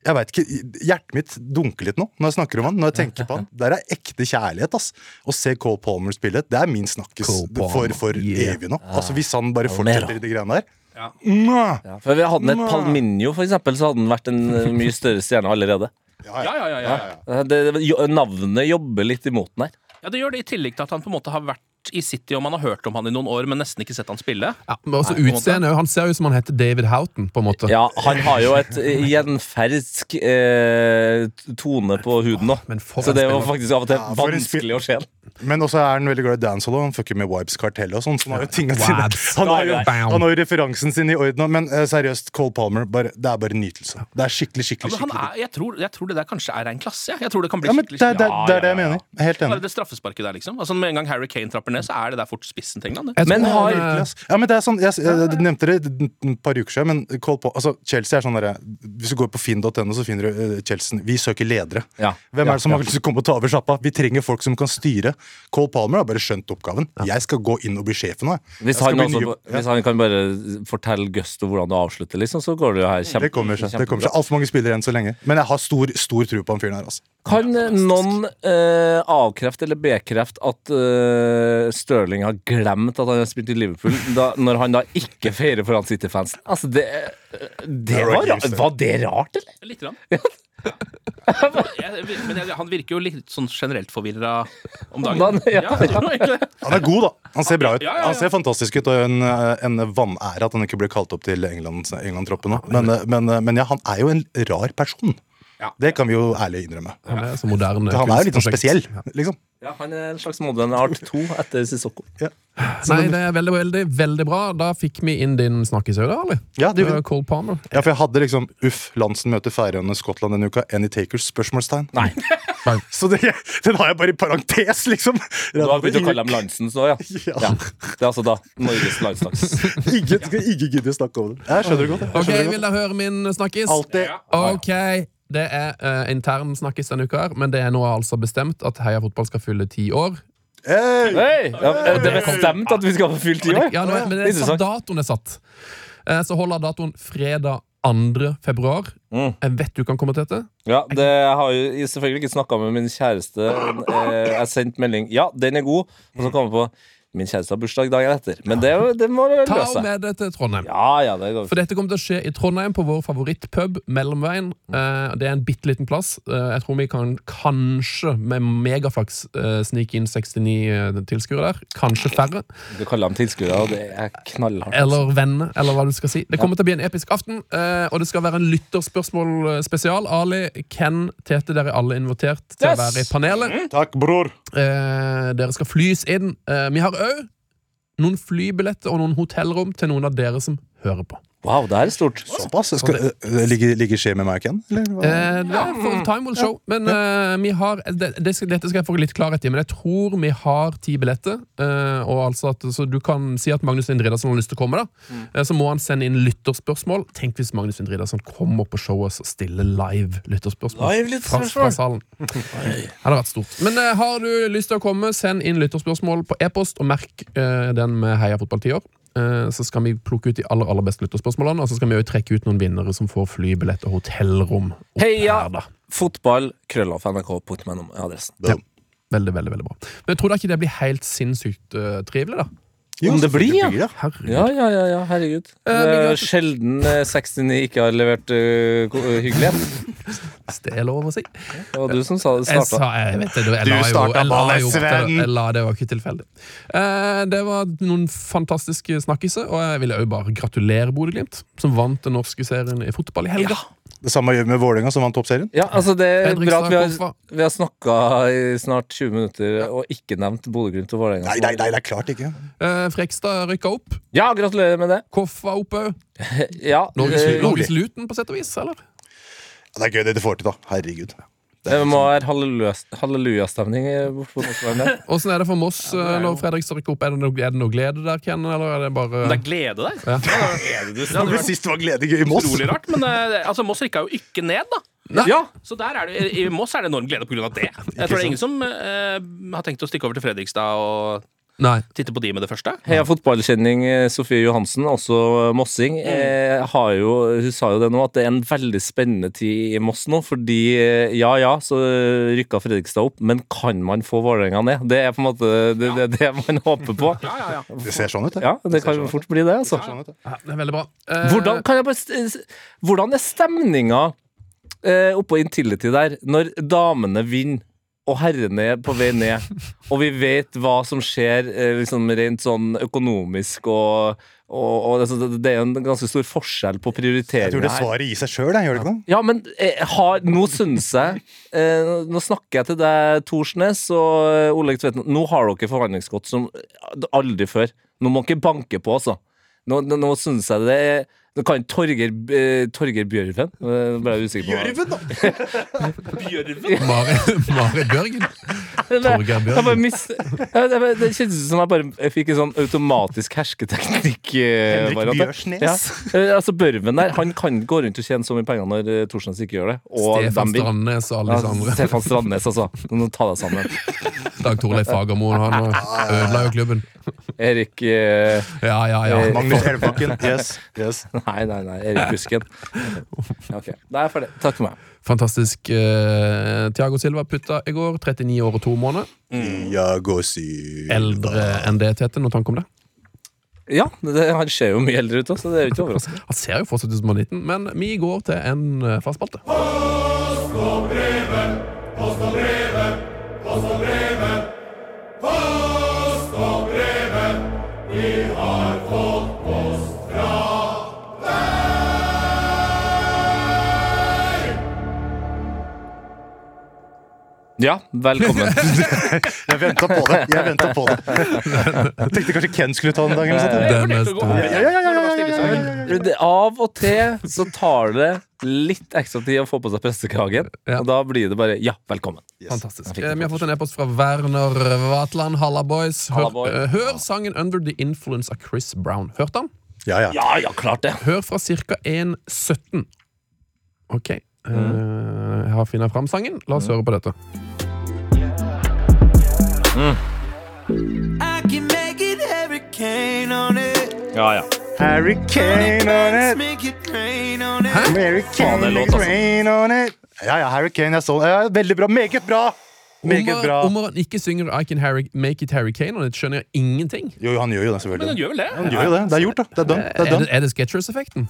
[SPEAKER 5] jeg vet ikke, Hjertet mitt dunker litt nå når jeg snakker om han. Når jeg tenker på han Der er ekte kjærlighet. ass Å se Cole Palmer spille, det er min snakkes
[SPEAKER 2] Cole Palmer,
[SPEAKER 5] for, for
[SPEAKER 2] yeah.
[SPEAKER 5] evig nå. Altså Hvis han bare
[SPEAKER 3] Palmer,
[SPEAKER 5] fortsetter i de greiene der
[SPEAKER 4] Ja.
[SPEAKER 5] Mwah!
[SPEAKER 3] Ja, for Hadde han et Palminho, for eksempel, så hadde han vært en eh, mye større stjerne allerede.
[SPEAKER 4] Ja, ja, ja, ja, ja.
[SPEAKER 3] Eh, Det, det, jo- navnet jobber litt imot den her.
[SPEAKER 4] ja, det gjør det, i tillegg til at han på en måte har vært i City, og man har hørt om han i noen år, men nesten ikke sett han spille.
[SPEAKER 2] Ja, men også
[SPEAKER 4] Nei, på en måte.
[SPEAKER 2] utseendet. Han ser jo ut som han heter David Houghton, på en måte.
[SPEAKER 3] Ja, han har jo et eh, gjenferdsk eh, tone på huden nå.
[SPEAKER 2] Men for
[SPEAKER 3] Så
[SPEAKER 2] en
[SPEAKER 3] det var
[SPEAKER 2] spiller.
[SPEAKER 3] faktisk av og til
[SPEAKER 5] Ja, for en
[SPEAKER 3] vanskelig å se han.
[SPEAKER 5] Men også er han veldig glad i dancehall og han fucker med Wipes kartell og sånn. Så han har jo tinga sine
[SPEAKER 2] Vibes.
[SPEAKER 5] han har, jo,
[SPEAKER 3] Ja,
[SPEAKER 2] ja.
[SPEAKER 5] han har jo referansen sin i orden. Men eh, seriøst, Cole Palmer, bare, det er bare nytelse. Det er skikkelig,
[SPEAKER 4] Ja,
[SPEAKER 5] skikkelig,
[SPEAKER 4] men han
[SPEAKER 5] skikkelig
[SPEAKER 4] er, jeg, tror, jeg tror det der kanskje er en klasse. jeg. Jeg tror det kan bli
[SPEAKER 5] Ja, men det,
[SPEAKER 4] skikkelig
[SPEAKER 5] er- det, er-
[SPEAKER 4] Ja,
[SPEAKER 5] det er det
[SPEAKER 4] ja,
[SPEAKER 5] jeg
[SPEAKER 4] ja.
[SPEAKER 5] mener. Jeg er helt
[SPEAKER 4] Bare
[SPEAKER 5] enig.
[SPEAKER 4] det straffesparket der, liksom. Altså Med en gang Harry Kane trapper ned, så er det der fort spissen til England. Det.
[SPEAKER 2] Jeg tror
[SPEAKER 3] Men
[SPEAKER 2] han,
[SPEAKER 3] har-
[SPEAKER 2] eh,
[SPEAKER 5] Virkelig, ass. Ja, men det er sånn, jeg, jeg nevnte det et par uker siden, men Cole Palmer, altså, Chelsea er sånn derre Hvis du går på finn.no, så finner du eh, Chelsea. Vi søker ledere.
[SPEAKER 3] Ja.
[SPEAKER 5] Hvem
[SPEAKER 3] Ja,
[SPEAKER 5] er det som
[SPEAKER 3] ja.
[SPEAKER 5] har lyst til å komme og ta over sjappa? Vi trenger folk som kan styre. Cole Palmer har bare skjønt oppgaven. Jeg skal gå inn og bli sjefen nå. jeg. Jeg
[SPEAKER 3] Hvis
[SPEAKER 5] skal
[SPEAKER 3] han,
[SPEAKER 5] bli
[SPEAKER 3] også,
[SPEAKER 5] nye- Ja.
[SPEAKER 3] hvis han kan bare fortelle Gusto hvordan du avslutter, liksom, så går det jo her kjempe,
[SPEAKER 5] Det kommer seg. det kommer
[SPEAKER 3] kjempebra.
[SPEAKER 5] seg Altfor mange spillere enn så lenge. Men jeg har stor, stor tro på han fyren her. Altså.
[SPEAKER 3] Kan eh, noen eh, avkrefte eller bekrefte at eh, Stirling har glemt at han har spilt i Liverpool, da, når han da ikke feirer foran City-fansen? Altså, det, det
[SPEAKER 5] er
[SPEAKER 3] var,
[SPEAKER 5] rart,
[SPEAKER 3] ra- var det rart, eller?
[SPEAKER 4] Litt. Grann. Jeg, men jeg, han virker jo litt sånn generelt forvirra om dagen.
[SPEAKER 3] Om dagen, ja.
[SPEAKER 4] jeg tror egentlig det.
[SPEAKER 5] Han er god, da. Han ser bra ut.
[SPEAKER 4] Ja, ja, ja.
[SPEAKER 5] Han ser fantastisk ut, og en, en vanære at han ikke blir kalt opp til England- England-troppen nå. Men, men, men ja, han er jo en rar person.
[SPEAKER 4] Ja.
[SPEAKER 5] Det kan vi jo ærlig innrømme.
[SPEAKER 2] han er så moderne.
[SPEAKER 5] Han er jo litt sånn
[SPEAKER 2] kunstprosjekt.
[SPEAKER 5] spesiell, liksom.
[SPEAKER 3] Ja, han er en slags moderne Art 2 etter Sissoko.
[SPEAKER 2] Nei, det er veldig, veldig, veldig bra. Da fikk vi inn din snakkesøy, da, Ali.
[SPEAKER 5] Ja, det gjorde vi.
[SPEAKER 2] Eh, Cole Palmer.
[SPEAKER 5] Ja, for jeg hadde liksom Uff, Lansen møter Færøyene Skottland denne uka. Any takers? spørsmålstegn
[SPEAKER 3] Nei,
[SPEAKER 5] Så det, den har jeg bare i parentes, liksom.
[SPEAKER 3] du har begynt å kalle ham Lansens nå, ja. ja. Det er altså da Norges landslags.
[SPEAKER 5] Ingen skal ikke gidde å snakke om det. Jeg skjønner det godt. jeg. Jeg
[SPEAKER 2] Ok,
[SPEAKER 5] skjønner det
[SPEAKER 2] Vil
[SPEAKER 5] godt.
[SPEAKER 2] dere høre min snakkis?
[SPEAKER 5] Alltid.
[SPEAKER 2] Ok, det er eh, intern snakkis denne uka, her, men det er nå altså bestemt at Heia Fotball skal fylle ti år.
[SPEAKER 5] Hey!
[SPEAKER 3] Hei! Ja, er det bestemt at vi skal få fylt i
[SPEAKER 5] Eh,
[SPEAKER 3] år?
[SPEAKER 2] Ja, nå, men det er
[SPEAKER 3] Interessant.
[SPEAKER 2] sånn datoen er satt. Eh, Så holder datoen fredag 2. februar.
[SPEAKER 3] Mm.
[SPEAKER 2] Jeg vet du kan komme til dette.
[SPEAKER 3] Ja, det jeg har jo jeg selvfølgelig ikke snakka med min kjæreste. Eh, Jeg sendte melding Ja, den er god. Og så kom jeg på Min kjæreste har bursdag dagen etter. Men det, det må vel
[SPEAKER 2] Ta
[SPEAKER 3] løse seg.
[SPEAKER 2] med det til Trondheim.
[SPEAKER 3] Ja, ja, det går
[SPEAKER 2] For dette kommer til å skje i Trondheim, på vår favorittpub, Mellomveien. Eh, det er en bitte liten plass. Eh, jeg tror vi kan kanskje, med megaflaks, eh, snike inn 69 eh, tilskuere der. Kanskje færre.
[SPEAKER 3] Du kaller dem tilskuere, og det er knallhardt.
[SPEAKER 2] Eller venner, eller hva du skal si. Det kommer til å bli en episk aften, eh, og det skal være en lytterspørsmål-spesial. Ali, Ken, Tete, dere er alle invitert til å
[SPEAKER 3] Yes!
[SPEAKER 2] være i panelet.
[SPEAKER 5] Takk, bror.
[SPEAKER 2] Eh, dere skal flys inn. Eh, vi har òg noen flybilletter og noen hotellrom til noen av dere som hører på.
[SPEAKER 3] Wow, det her er stort.
[SPEAKER 5] Såpass? Skal, øh, ligger, ligger skje med meg igjen? Eller? hva?
[SPEAKER 2] Eh, ja, for time will show. Men eh, vi har det, det skal, Dette skal jeg få litt klarhet i, men jeg tror vi har ti billetter. Eh, og altså at, så Du kan si at Magnus Lind Riddarsen har lyst til å komme, da.
[SPEAKER 3] Mm.
[SPEAKER 2] Eh, så må han sende inn lytterspørsmål. Tenk hvis Magnus Lind Riddarsen kommer på showet og stiller live lytterspørsmål.
[SPEAKER 3] Live
[SPEAKER 2] Fra,
[SPEAKER 3] lytterspørsmål.
[SPEAKER 2] fra salen. Det hadde vært stort. Men eh, har du lyst til å komme, send inn lytterspørsmål på e-post, og merk eh, den med Heia fotball 10 år. Eh, så skal vi plukke ut de aller aller beste lytterspørsmålene, og så skal vi jo trekke ut noen vinnere som får flybillett og hotellrom. opp
[SPEAKER 3] Heia!
[SPEAKER 2] her, da.
[SPEAKER 3] Fotball, krøllaff, nrk.no er adressen.
[SPEAKER 5] Da-
[SPEAKER 2] Veldig, veldig, veldig bra. Men jeg tror da ikke det blir helt sinnssykt eh, trivelig, da.
[SPEAKER 5] Jo,
[SPEAKER 3] Om det blir, ja.
[SPEAKER 5] selvfølgelig blir det.
[SPEAKER 2] Herregud.
[SPEAKER 3] Ja, ja, ja, ja, herregud.
[SPEAKER 5] Eh,
[SPEAKER 3] Det
[SPEAKER 2] men
[SPEAKER 3] er
[SPEAKER 2] greit.
[SPEAKER 3] sjelden eh, 69 ikke har levert eh, ko- eh, hyggelighet.
[SPEAKER 2] Hvis det er lov å si.
[SPEAKER 3] Det var du som sa det
[SPEAKER 2] Jeg
[SPEAKER 3] starta.
[SPEAKER 2] sa, jeg vet det, jeg
[SPEAKER 5] Du
[SPEAKER 2] la jo-
[SPEAKER 5] starta
[SPEAKER 2] jeg la
[SPEAKER 5] ballet,
[SPEAKER 2] jo opp til det.
[SPEAKER 5] Sven.
[SPEAKER 2] Jeg la det var ikke tilfeldig. Eh, det var noen fantastiske snakkiser, og jeg ville òg bare gratulere Bodø-Glimt, som vant den norske serien i fotball i helga.
[SPEAKER 5] Det samme gjør vi med Vålerenga, som vant toppserien.
[SPEAKER 3] Ja, altså det er
[SPEAKER 2] Fredrikstad
[SPEAKER 3] bra at vi har,
[SPEAKER 2] Koffa.
[SPEAKER 3] vi har snakka i snart 20 minutter og ikke nevnt Bodø-Glimt og Vålerenga.
[SPEAKER 5] Nei, nei, nei, det er klart ikke.
[SPEAKER 2] Eh, Frekstad rykka opp.
[SPEAKER 3] Ja, gratulerer med det.
[SPEAKER 2] Koff var oppe òg.
[SPEAKER 3] Ja,
[SPEAKER 2] Norges,
[SPEAKER 3] eh,
[SPEAKER 2] Norges Luton, på sett og vis, eller?
[SPEAKER 5] Ja, Det er gøy det du får til, da. Herregud.
[SPEAKER 3] det må være halleluja- hallelujastemning eh, bort på Nordsjøen der.
[SPEAKER 2] Åssen er det for Moss eh, når Fredrikstad rykker opp? Er det, noe, er det noe glede der, Ken? Eller er det bare
[SPEAKER 4] Det er glede der.
[SPEAKER 2] Ja.
[SPEAKER 4] Det er glede du snakker om.
[SPEAKER 5] Det sist var gledegøy i Moss.
[SPEAKER 4] Utrolig rart, men eh, altså, Moss rykka jo ikke ned, da.
[SPEAKER 2] Nei.
[SPEAKER 4] Ja, Så der er det, i Moss er det enorm glede pga. det. Jeg tror det er ingen som eh, har tenkt å stikke over til Fredrikstad og
[SPEAKER 2] Nei.
[SPEAKER 4] titte på de med det første.
[SPEAKER 3] Heia fotballkjenning eh, Sofie Johansen, også mossing, eh, har jo, hun sa jo det nå, at det er en veldig spennende tid i Moss nå. Fordi eh, ja ja, så rykka Fredrikstad opp, men kan man få Vålerenga ned? Det er på en måte det, det, det man håper på.
[SPEAKER 4] Ja, ja, ja.
[SPEAKER 5] Det ser sånn ut, det.
[SPEAKER 3] Ja, det kan fort bli det, altså.
[SPEAKER 5] Sånn ut, det.
[SPEAKER 2] Ja, det er veldig bra. Eh,
[SPEAKER 3] Hvordan, kan jeg bare, st- s- hvordan er stemninga eh, oppå Intility der, når damene vinner og herrene er på vei ned, og vi vet hva som skjer eh, liksom rent sånn økonomisk og, og, og altså, det, så det- det er jo en ganske stor forskjell på
[SPEAKER 5] Jeg tror
[SPEAKER 3] prioritering
[SPEAKER 5] det svaret gir seg sjøl, gjør det ikke det?
[SPEAKER 3] Ja, men eh, har, nå syns jeg eh, Nå snakker jeg til deg, Thorsnes og eh, Oleg Tvedten. Nå har dere forhandlingsgodt som aldri før. Nå må dere banke på, altså. Nå, nå, nå syns jeg det er Nå kan Torgeir eh, Torgeir Bjørven eh, ble jeg usikker på. hva-
[SPEAKER 5] Bjørven, da!
[SPEAKER 4] Bjørven?
[SPEAKER 2] Mari, Mari Bjørgen. Torgeir
[SPEAKER 3] Jeg bare
[SPEAKER 2] Bjørgen.
[SPEAKER 3] mist, jeg, jeg, bare- det kjentes ut som jeg bare jeg fikk en sånn automatisk hersketeknikk. eh,
[SPEAKER 5] Henrik
[SPEAKER 3] variant, da.
[SPEAKER 5] Bjørsnes.
[SPEAKER 3] Ja. Eh, altså Børven der, han kan gå rundt og tjene så mye penger når eh, Thorsnes ikke gjør det. Og
[SPEAKER 2] Stefan
[SPEAKER 3] de vinner.
[SPEAKER 2] Strandnes og alle disse
[SPEAKER 3] Ja,
[SPEAKER 2] andre.
[SPEAKER 3] Stefan Strandnes, altså. Nå må du ta deg sammen.
[SPEAKER 2] Dag Torleif Fagermo han har- ødela jo klubben.
[SPEAKER 3] Erik eh,
[SPEAKER 2] Ja, ja, ja.
[SPEAKER 5] Magnus Helvbakken. Yes. yes.
[SPEAKER 3] Nei, nei, nei. Erik Busken. Ok, Da er jeg ferdig. Takk for meg.
[SPEAKER 2] Fantastisk. eh, Thiago Silva putta i går. 39 år og to måneder.
[SPEAKER 5] Iago Silva.
[SPEAKER 2] Eldre enn det Tete, når tanke om det.
[SPEAKER 3] Ja, det, han ser jo mye eldre ut, også, så det er jo ikke overraskende.
[SPEAKER 2] Han ser jo fortsatt ut som han er 19, men vi går til en eh, fast spalte.
[SPEAKER 3] Ja, velkommen.
[SPEAKER 5] Jeg venta på det. Jeg ventet på det. Jeg tenkte kanskje Ken skulle ta den dagen. eller
[SPEAKER 2] Den er
[SPEAKER 4] Vurderte å
[SPEAKER 5] sånt.
[SPEAKER 4] gå
[SPEAKER 2] stor.
[SPEAKER 4] opp igjen,
[SPEAKER 5] Ja, ja, ja, ja,
[SPEAKER 4] når det var
[SPEAKER 5] ja,
[SPEAKER 4] stille i saken.
[SPEAKER 3] Det- Av og til så tar det litt ekstra tid å få på seg prestekragen,
[SPEAKER 2] Ja.
[SPEAKER 3] og da blir det bare 'ja, velkommen'.
[SPEAKER 2] Fantastisk.
[SPEAKER 3] Jeg fikk det
[SPEAKER 2] Eh, Vi har fått en e-post fra Werner Vatland. Halla, boys. Hør,
[SPEAKER 3] Halla, boy.
[SPEAKER 2] eh, hør sangen 'Under the Influence' av Chris Brown. Hørte han?
[SPEAKER 5] Ja, ja.
[SPEAKER 3] Ja, ja, klart det.
[SPEAKER 2] Hør fra ca. 1.17. OK. eh,
[SPEAKER 5] Mm.
[SPEAKER 2] jeg har funnet fram sangen. La oss høre på dette.
[SPEAKER 1] I can make it hurricane on it.
[SPEAKER 3] Ja, ja.
[SPEAKER 5] Harry Kane on
[SPEAKER 1] Let's
[SPEAKER 5] it.
[SPEAKER 1] make it rain on it.
[SPEAKER 3] Faen, det
[SPEAKER 5] Mary
[SPEAKER 3] er
[SPEAKER 5] Kane,
[SPEAKER 3] låt, altså.
[SPEAKER 5] rain on it. Ja, ja, Harry Kane. Jeg så den. Ja, veldig bra. Meget bra! Meget bra.
[SPEAKER 2] Om han ikke synger I Can Harry, Make It Harry Kane, og det skjønner jeg ingenting.
[SPEAKER 5] Jo, han gjør jo det,
[SPEAKER 4] Men den
[SPEAKER 5] selvfølgelig.
[SPEAKER 4] gjør vel
[SPEAKER 5] Han
[SPEAKER 4] det?
[SPEAKER 5] gjør jo det. Det er gjort, da. Det er done. Det
[SPEAKER 2] Er
[SPEAKER 5] er
[SPEAKER 2] det,
[SPEAKER 5] done.
[SPEAKER 2] er det Sketchers-effekten?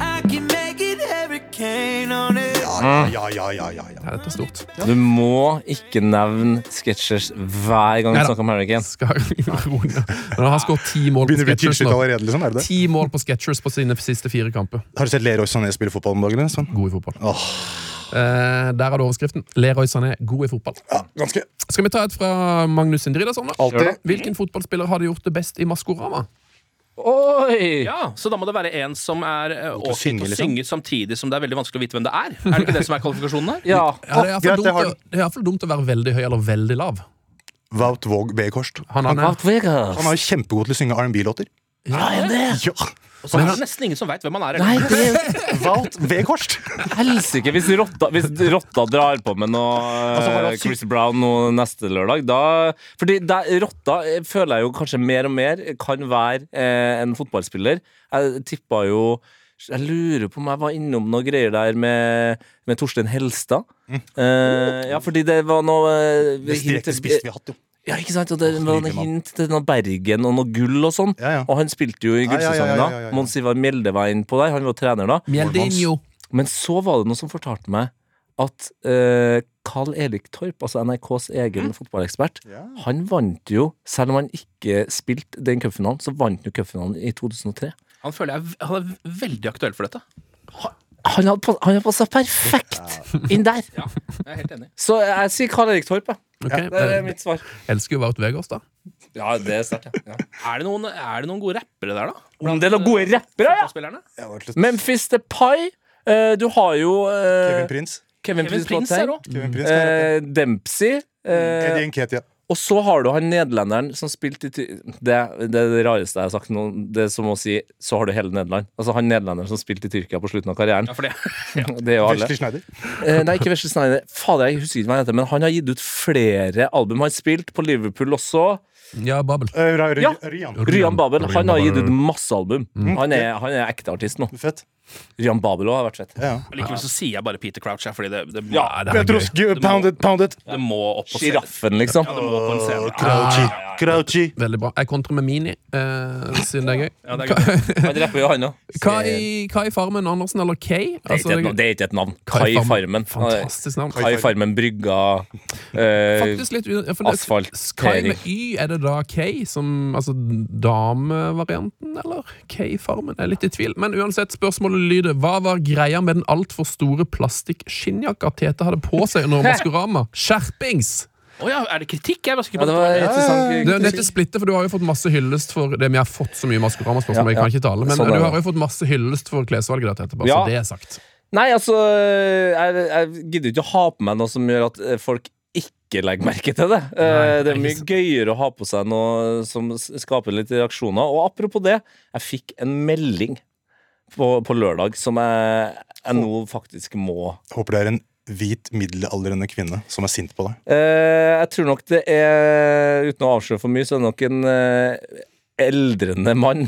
[SPEAKER 1] I can make it hurricane on it.
[SPEAKER 5] Ja, ja, ja, ja, ja.
[SPEAKER 2] Ja, Dette er stort.
[SPEAKER 3] Du må ikke nevne Sketchers hver gang
[SPEAKER 2] Neida.
[SPEAKER 3] du snakker om Harry Kane.
[SPEAKER 2] Skal roe ned. Men han har skåret ti mål på
[SPEAKER 5] Begynner å bli
[SPEAKER 2] Sketchers
[SPEAKER 5] tilslutt
[SPEAKER 2] nå.
[SPEAKER 5] allerede, liksom? Er det det?
[SPEAKER 2] Ti mål på Sketchers på sine siste fire kamper.
[SPEAKER 5] Har du sett Leroy Sané spille fotball om dagen? eller, Sånn. Sven?
[SPEAKER 2] God i fotball.
[SPEAKER 5] Åh.
[SPEAKER 2] Eh, der er det overskriften. Leroy Sané, god i fotball.
[SPEAKER 5] Ganske.
[SPEAKER 2] Skal vi ta et fra Magnus Indridason, da?
[SPEAKER 5] Alltid.
[SPEAKER 2] Hvilken fotballspiller hadde gjort det best i Maskorama?
[SPEAKER 3] Oi!
[SPEAKER 4] Ja, Så da må det være en som er eh, ålreit
[SPEAKER 5] synge,
[SPEAKER 4] til å
[SPEAKER 5] liksom.
[SPEAKER 4] synge samtidig som det er veldig vanskelig å vite hvem det er. Er det ikke det som er kvalifikasjonen her?
[SPEAKER 3] Ja.
[SPEAKER 2] Ja, det er iallfall
[SPEAKER 5] greit,
[SPEAKER 2] dumt,
[SPEAKER 5] jeg har
[SPEAKER 2] å- det er i hvert fall dumt å være veldig høy eller veldig lav.
[SPEAKER 5] Wout Våg Bekorst.
[SPEAKER 2] Han, han er,
[SPEAKER 5] Han er jo kjempegod til å synge R&B-låter. Ja.
[SPEAKER 4] Og så er det nesten ingen som veit hvem han er.
[SPEAKER 3] Nei,
[SPEAKER 4] eller?
[SPEAKER 3] det er
[SPEAKER 5] Wout Weghorst!
[SPEAKER 3] helsike! Hvis rotta, hvis rotta drar på med noe
[SPEAKER 5] Altså, har han
[SPEAKER 3] eh, Chris Brown nå neste lørdag, da Fordi der, rotta eh, føler jeg jo kanskje mer og mer kan være eh, en fotballspiller. Jeg tippa jo jeg lurer på om jeg var innom noe greier der med, med Torstein Helstad.
[SPEAKER 5] Mm.
[SPEAKER 3] Eh, ja, fordi det var noe eh,
[SPEAKER 5] Mest
[SPEAKER 3] hint-
[SPEAKER 5] direkte spiss vi har hatt, jo.
[SPEAKER 3] Ja, ikke sant? Og det var noen
[SPEAKER 5] nydelig mann.
[SPEAKER 3] hint til noe Bergen og noe gull og sånn.
[SPEAKER 5] Ja, ja.
[SPEAKER 3] Og han spilte jo i
[SPEAKER 5] ja, ja,
[SPEAKER 3] gullsesongen
[SPEAKER 5] ja, ja,
[SPEAKER 3] da.
[SPEAKER 5] ja.
[SPEAKER 3] Mons Ivar Mjelde var inne på der, han var trener da.
[SPEAKER 2] Mjeldinho.
[SPEAKER 3] Men så var det noen som fortalte meg at eh, Carl Erik Torp, altså NRKs egen fotballekspert,
[SPEAKER 5] Mm. Ja.
[SPEAKER 3] han vant jo, selv om han ikke spilte den cupfinalen, så vant han jo cupfinalen i 2003.
[SPEAKER 4] Han føler jeg er- han er veldig aktuell for dette.
[SPEAKER 3] Han hadde, pas- han hadde passa perfekt inn der!
[SPEAKER 4] Ja, jeg er helt enig.
[SPEAKER 3] Så jeg sier Carl Erik Torp, jeg.
[SPEAKER 2] Ok,
[SPEAKER 3] Det er
[SPEAKER 2] eh,
[SPEAKER 3] mitt svar.
[SPEAKER 2] Elsker jo Wout Vegårs, da.
[SPEAKER 3] Ja, det er sterkt, ja.
[SPEAKER 4] Er det noen, er det noen gode rappere der, da?
[SPEAKER 3] Om det er noen gode rappere, ja!
[SPEAKER 4] Fotballspillerne?
[SPEAKER 5] Jeg var til-
[SPEAKER 3] Memphis The Pie. eh, du har jo eh,
[SPEAKER 5] Kevin Prince.
[SPEAKER 3] Kevin
[SPEAKER 4] Kevin
[SPEAKER 3] Prince
[SPEAKER 4] Prince
[SPEAKER 3] Boateng.
[SPEAKER 4] er òg.
[SPEAKER 5] Kevin Prince kan jeg
[SPEAKER 3] Eh, Dempsey.
[SPEAKER 5] rette.
[SPEAKER 3] Eh,
[SPEAKER 5] Eddie Nketia.
[SPEAKER 3] og så har du han nederlenderen som spilte i ty det, det er det rareste jeg har sagt nå. Det er som å si så har du hele Nederland. Altså han nederlenderen som spilte i Tyrkia på slutten av karrieren.
[SPEAKER 4] Ja, for det.
[SPEAKER 3] Det er jo alle.
[SPEAKER 5] Wesley Schneider.
[SPEAKER 3] Eh, nei, ikke Wesley Snyder. Fader, jeg husker ikke hva han heter, men han har gitt ut flere album. Han har spilt på Liverpool også.
[SPEAKER 2] Ja, Babel.
[SPEAKER 5] Eh, Ra- Ra-
[SPEAKER 3] Ja.
[SPEAKER 5] Rian.
[SPEAKER 3] Ryan Babel. Han har gitt ut
[SPEAKER 2] Babel.
[SPEAKER 3] masse album. Han er, han er ekte artist nå.
[SPEAKER 5] Fett.
[SPEAKER 3] Ryan Babel òg har vært fett.
[SPEAKER 5] Ja, ja.
[SPEAKER 4] Likevel så sier jeg bare Peter Crouch her, fordi det, det, må,
[SPEAKER 2] Ja, det er gøy.
[SPEAKER 5] pound it, pound it.
[SPEAKER 4] det må opp på scenen.
[SPEAKER 3] Sjiraffen, liksom.
[SPEAKER 4] Ja, det må på en scene.
[SPEAKER 5] Crouchy. Crouchy.
[SPEAKER 2] Veldig bra. Jeg kontrer med Mini, eh, siden det er gøy.
[SPEAKER 4] Ja, det er gøy.
[SPEAKER 3] Han rapper jo, han òg.
[SPEAKER 2] Hva i, hva i Farmen Andersen eller Kay?
[SPEAKER 3] Det er ikke
[SPEAKER 2] Altså,
[SPEAKER 3] et navn. Det er ikke et navn. Kai
[SPEAKER 2] Farmen.
[SPEAKER 3] Farmen.
[SPEAKER 2] Fantastisk navn.
[SPEAKER 3] Kai Farmen brygga eh,
[SPEAKER 2] Faktisk litt u- ja, for det-
[SPEAKER 3] Asfaltering.
[SPEAKER 2] Kai med Y, er det da K som Altså damevarianten, eller? K-farmen? Jeg er litt i tvil. Men uansett, spørsmålet lyder Hva var greia med den altfor store plastikk-skinnjakka Tete hadde på seg under Maskorama? Skjerpings!
[SPEAKER 4] Å ja, er det kritikk? Jeg var sikker
[SPEAKER 3] Ja,
[SPEAKER 4] på
[SPEAKER 3] det
[SPEAKER 4] det.
[SPEAKER 2] Det
[SPEAKER 3] var
[SPEAKER 2] er jo dette
[SPEAKER 3] interessant.
[SPEAKER 2] splitter, for du har jo fått masse hyllest for det Vi har fått så mye Maskorama-spørsmål,
[SPEAKER 3] Ja,
[SPEAKER 2] jeg kan
[SPEAKER 3] ja.
[SPEAKER 2] ikke tale, men
[SPEAKER 3] Sånn er
[SPEAKER 2] du
[SPEAKER 3] det.
[SPEAKER 2] har jo fått masse hyllest for klesvalget ditt etterpå,
[SPEAKER 3] Ja.
[SPEAKER 2] så det er sagt.
[SPEAKER 3] Nei, altså, jeg, jeg gidder ikke å ha på meg noe som gjør at eh, folk ikke legger merke til det. Eh,
[SPEAKER 2] Nei,
[SPEAKER 3] det er
[SPEAKER 2] ikke
[SPEAKER 3] mye
[SPEAKER 2] sant.
[SPEAKER 3] gøyere å ha på seg noe som s- skaper litt reaksjoner. Og apropos det, jeg fikk en melding på, på lørdag som jeg, jeg nå faktisk må
[SPEAKER 5] Håper det er en hvit, middelaldrende kvinne som er sint på deg.
[SPEAKER 3] Eh, jeg tror nok det er, uten å avsløre for mye, så er det nok en eh, eldrende mann.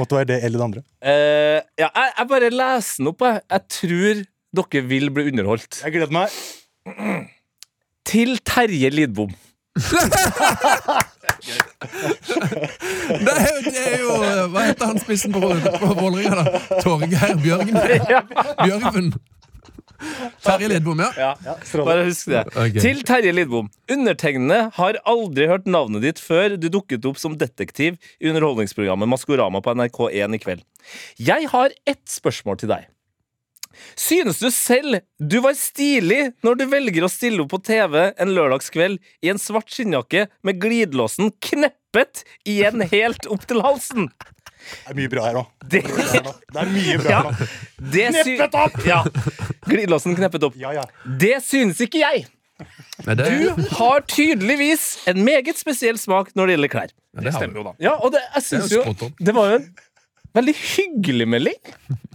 [SPEAKER 5] Måtte være det eller det andre.
[SPEAKER 3] Eh, ja, jeg, jeg bare leser den opp, jeg. Jeg tror dere vil bli underholdt.
[SPEAKER 5] Jeg gleder meg.
[SPEAKER 3] Til Terje Lidbom.
[SPEAKER 2] Det er, jo- det er jo Hva heter han spissen på, på Vålerenga, da? Torgeir Bjørgen? Bjørgen. Terje Lidbom, ja.
[SPEAKER 3] Ja, Bare husk det.
[SPEAKER 2] Ok.
[SPEAKER 3] Til Terje Lidbom. Undertegnede har aldri hørt navnet ditt før du dukket opp som detektiv i underholdningsprogrammet Maskorama på NRK1 i kveld. Jeg har ett spørsmål til deg. Synes du selv du var stilig når du velger å stille opp på TV en lørdagskveld i en svart skinnjakke med glidelåsen kneppet igjen helt opp til halsen?
[SPEAKER 5] Det er mye bra her òg.
[SPEAKER 3] Det,
[SPEAKER 5] Det er mye bra
[SPEAKER 3] ja,
[SPEAKER 5] her nå.
[SPEAKER 3] det sy-
[SPEAKER 5] Kneppet opp!
[SPEAKER 3] Ja. Glidelåsen kneppet opp.
[SPEAKER 5] Ja, ja.
[SPEAKER 3] Det synes ikke jeg.
[SPEAKER 2] Nei, det,
[SPEAKER 3] Du har tydeligvis en meget spesiell smak når det gjelder klær.
[SPEAKER 2] ja, det har vi.
[SPEAKER 4] stemmer jo, da.
[SPEAKER 3] Ja, og det, jeg synes
[SPEAKER 2] Det er
[SPEAKER 3] jo
[SPEAKER 2] jo spot on.
[SPEAKER 3] Det var jo en veldig hyggelig melding,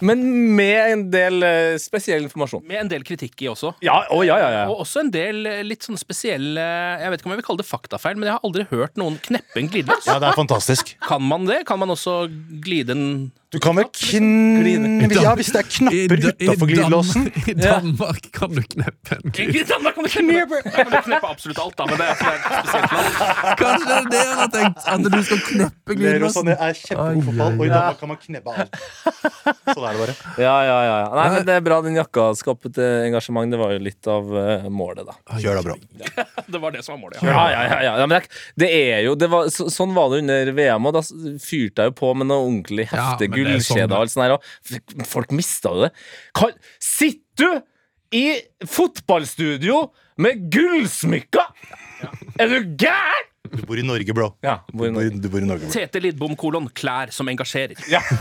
[SPEAKER 3] men med en del eh, spesiell informasjon.
[SPEAKER 4] Med en del kritikk i også.
[SPEAKER 3] Ja, å, ja, ja, ja.
[SPEAKER 4] Og også en del eh, litt sånn spesielle Jeg vet ikke om jeg vil kalle det faktafeil, men jeg har aldri hørt noen kneppe en glidelås.
[SPEAKER 5] Ja, det er fantastisk.
[SPEAKER 4] Kan man det? Kan man også glide en
[SPEAKER 5] Du kan vel kn...
[SPEAKER 2] Glide.
[SPEAKER 5] Ja, hvis det er
[SPEAKER 2] I
[SPEAKER 5] knapper
[SPEAKER 2] Da- i
[SPEAKER 5] utafor
[SPEAKER 2] Dan-
[SPEAKER 5] glidelåsen.
[SPEAKER 2] I Danmark kan du kneppe en glidelås.
[SPEAKER 4] I Danmark kan du kneppe, Da kan du kneppe absolutt alt, da, men det er det er et spesielt land.
[SPEAKER 2] Kanskje det er det han har tenkt? At du skal kneppe
[SPEAKER 5] Lero
[SPEAKER 2] glidelåsen?
[SPEAKER 5] Sané er sånn, kjempegod
[SPEAKER 2] Ai,
[SPEAKER 5] fotball, og
[SPEAKER 2] ai,
[SPEAKER 5] i Danmark kan man knebbe alt. Sånn er det bare.
[SPEAKER 3] ja, ja, ja, ja. Nei, men Det er bra den jakka skapet eh, engasjement. Det var jo litt av eh, målet, da.
[SPEAKER 5] Kjør da, bro.
[SPEAKER 4] Det var det som var målet. Ja.
[SPEAKER 3] Ja, ja, ja, ja. ja men jeg, det er jo det var, så, Sånn var det under VM, og da s- fyrte jeg jo på med noe ordentlig
[SPEAKER 2] Ja,
[SPEAKER 3] heftig
[SPEAKER 2] men det er sånn
[SPEAKER 3] gullkjede og alt sånt her, og f- folk mista jo det. Kan, sitter du i fotballstudio med gullsmykker! Er du gæren?!
[SPEAKER 5] Du bor i Norge, bro.
[SPEAKER 3] Ja, hvor
[SPEAKER 5] Du
[SPEAKER 3] nå?
[SPEAKER 5] bor, i- du bor i Norge, bro.
[SPEAKER 4] Tete Lidbom kolon klær som engasjerer.
[SPEAKER 3] Ja.
[SPEAKER 4] Det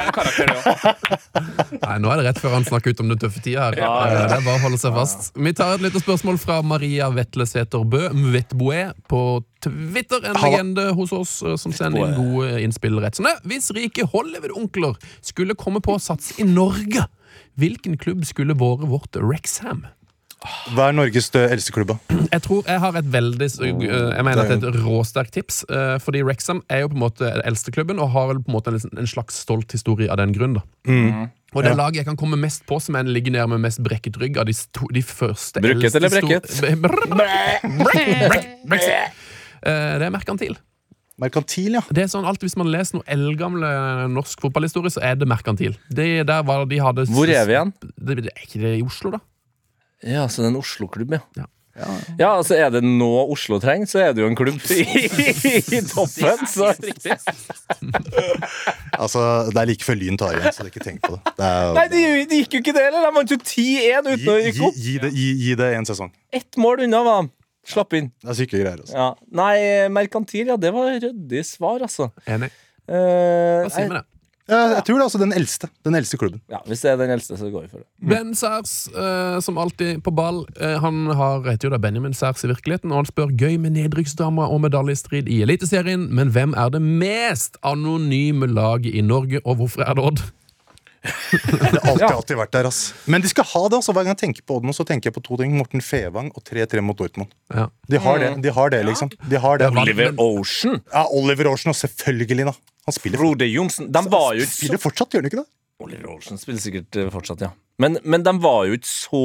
[SPEAKER 4] er en karakter, det òg.
[SPEAKER 2] Nei, Nå er det rett før han snakker ut om den tøffe tida her.
[SPEAKER 3] Ja, ja.
[SPEAKER 2] Eh, Det er bare å holde seg fast. Vi tar et lite spørsmål fra Maria Vetlesæter Bø, Mvetboe, på Twitter. En
[SPEAKER 5] Halla.
[SPEAKER 2] legende hos oss eh, som sender inn gode innspill. rett som det er. Hvis rike Hollywood-onkler skulle komme på å satse i Norge, hvilken klubb skulle vært vårt Rexham?
[SPEAKER 5] Hva er Norges stø- eldste klubb, da?
[SPEAKER 2] Jeg tror jeg har et veldig s- eh, Jeg mener at det er et råsterkt tips. eh, Fordi Rexham er jo på en måte den eldste klubben og har på en måte en liten- en slags stolt historie av den grunn. da
[SPEAKER 3] Mm.
[SPEAKER 2] Og det laget jeg kan komme mest på, som jeg ligger ned med mest brekket rygg av de, sto, de første
[SPEAKER 3] Brukket
[SPEAKER 2] eldste
[SPEAKER 3] eller
[SPEAKER 2] sto-
[SPEAKER 3] brekket?
[SPEAKER 2] Brr- brek- brek- brexit. Eh, Det er merkantil.
[SPEAKER 5] Merkantil, ja.
[SPEAKER 2] Det er sånn alltid Hvis man leser noe eldgamle norsk fotballhistorie, så er det merkantil. Det, der var, de hadde
[SPEAKER 3] Hvor er vi igjen?
[SPEAKER 2] Det, det, er ikke det i Oslo, da?
[SPEAKER 3] Ja, så det er en Oslo-klubb, ja.
[SPEAKER 2] Ja.
[SPEAKER 3] Ja, altså Er det nå Oslo trenger, så er det jo en klubb i, i toppen. Så.
[SPEAKER 5] Altså, Det er like før Lyn tar igjen, så ikke tenk på det. det er,
[SPEAKER 3] Nei, det de gikk jo ikke det heller! De vant jo 10-1 uten å
[SPEAKER 5] gi,
[SPEAKER 3] rykke
[SPEAKER 5] gi,
[SPEAKER 3] opp.
[SPEAKER 5] gi, det, gi, gi det en sesong.
[SPEAKER 3] Ett mål unna var de. Slapp inn.
[SPEAKER 5] Det er syke greier. altså.
[SPEAKER 3] Ja. Nei, merkantil, ja. Det var ryddig svar, altså.
[SPEAKER 2] Enig.
[SPEAKER 3] Eh,
[SPEAKER 2] Hva sier vi det?
[SPEAKER 5] Jeg, jeg tror det er altså den eldste. Den eldste klubben.
[SPEAKER 3] ja, hvis det er den eldste, så går vi for det.
[SPEAKER 2] Ben Særs, eh, som alltid på ball, eh, han har, heter jo da Benjamin Særs i virkeligheten, og han spør gøy med nedrykksdamer og medaljestrid i Eliteserien, men hvem er det mest anonyme laget i Norge, og hvorfor er det Odd?
[SPEAKER 5] Det har alltid,
[SPEAKER 3] Ja.
[SPEAKER 5] alltid vært der, ass. Men de skal ha det. altså. Hver gang jeg tenker på Odd nå, så tenker jeg på to ting. Morten Fevang og 3-3 mot Dortmund.
[SPEAKER 2] Ja.
[SPEAKER 5] De har det, de har det liksom. De har det.
[SPEAKER 3] Oliver Ocean,
[SPEAKER 5] Ja, Oliver Aarsen, og selvfølgelig, da. Han spiller,
[SPEAKER 3] Frode Johnsen De var jo ikke så
[SPEAKER 5] spiller fortsatt, gjør han ikke det?
[SPEAKER 3] Oliver Olsen spiller sikkert eh, fortsatt, ja. Men, men de var jo ikke så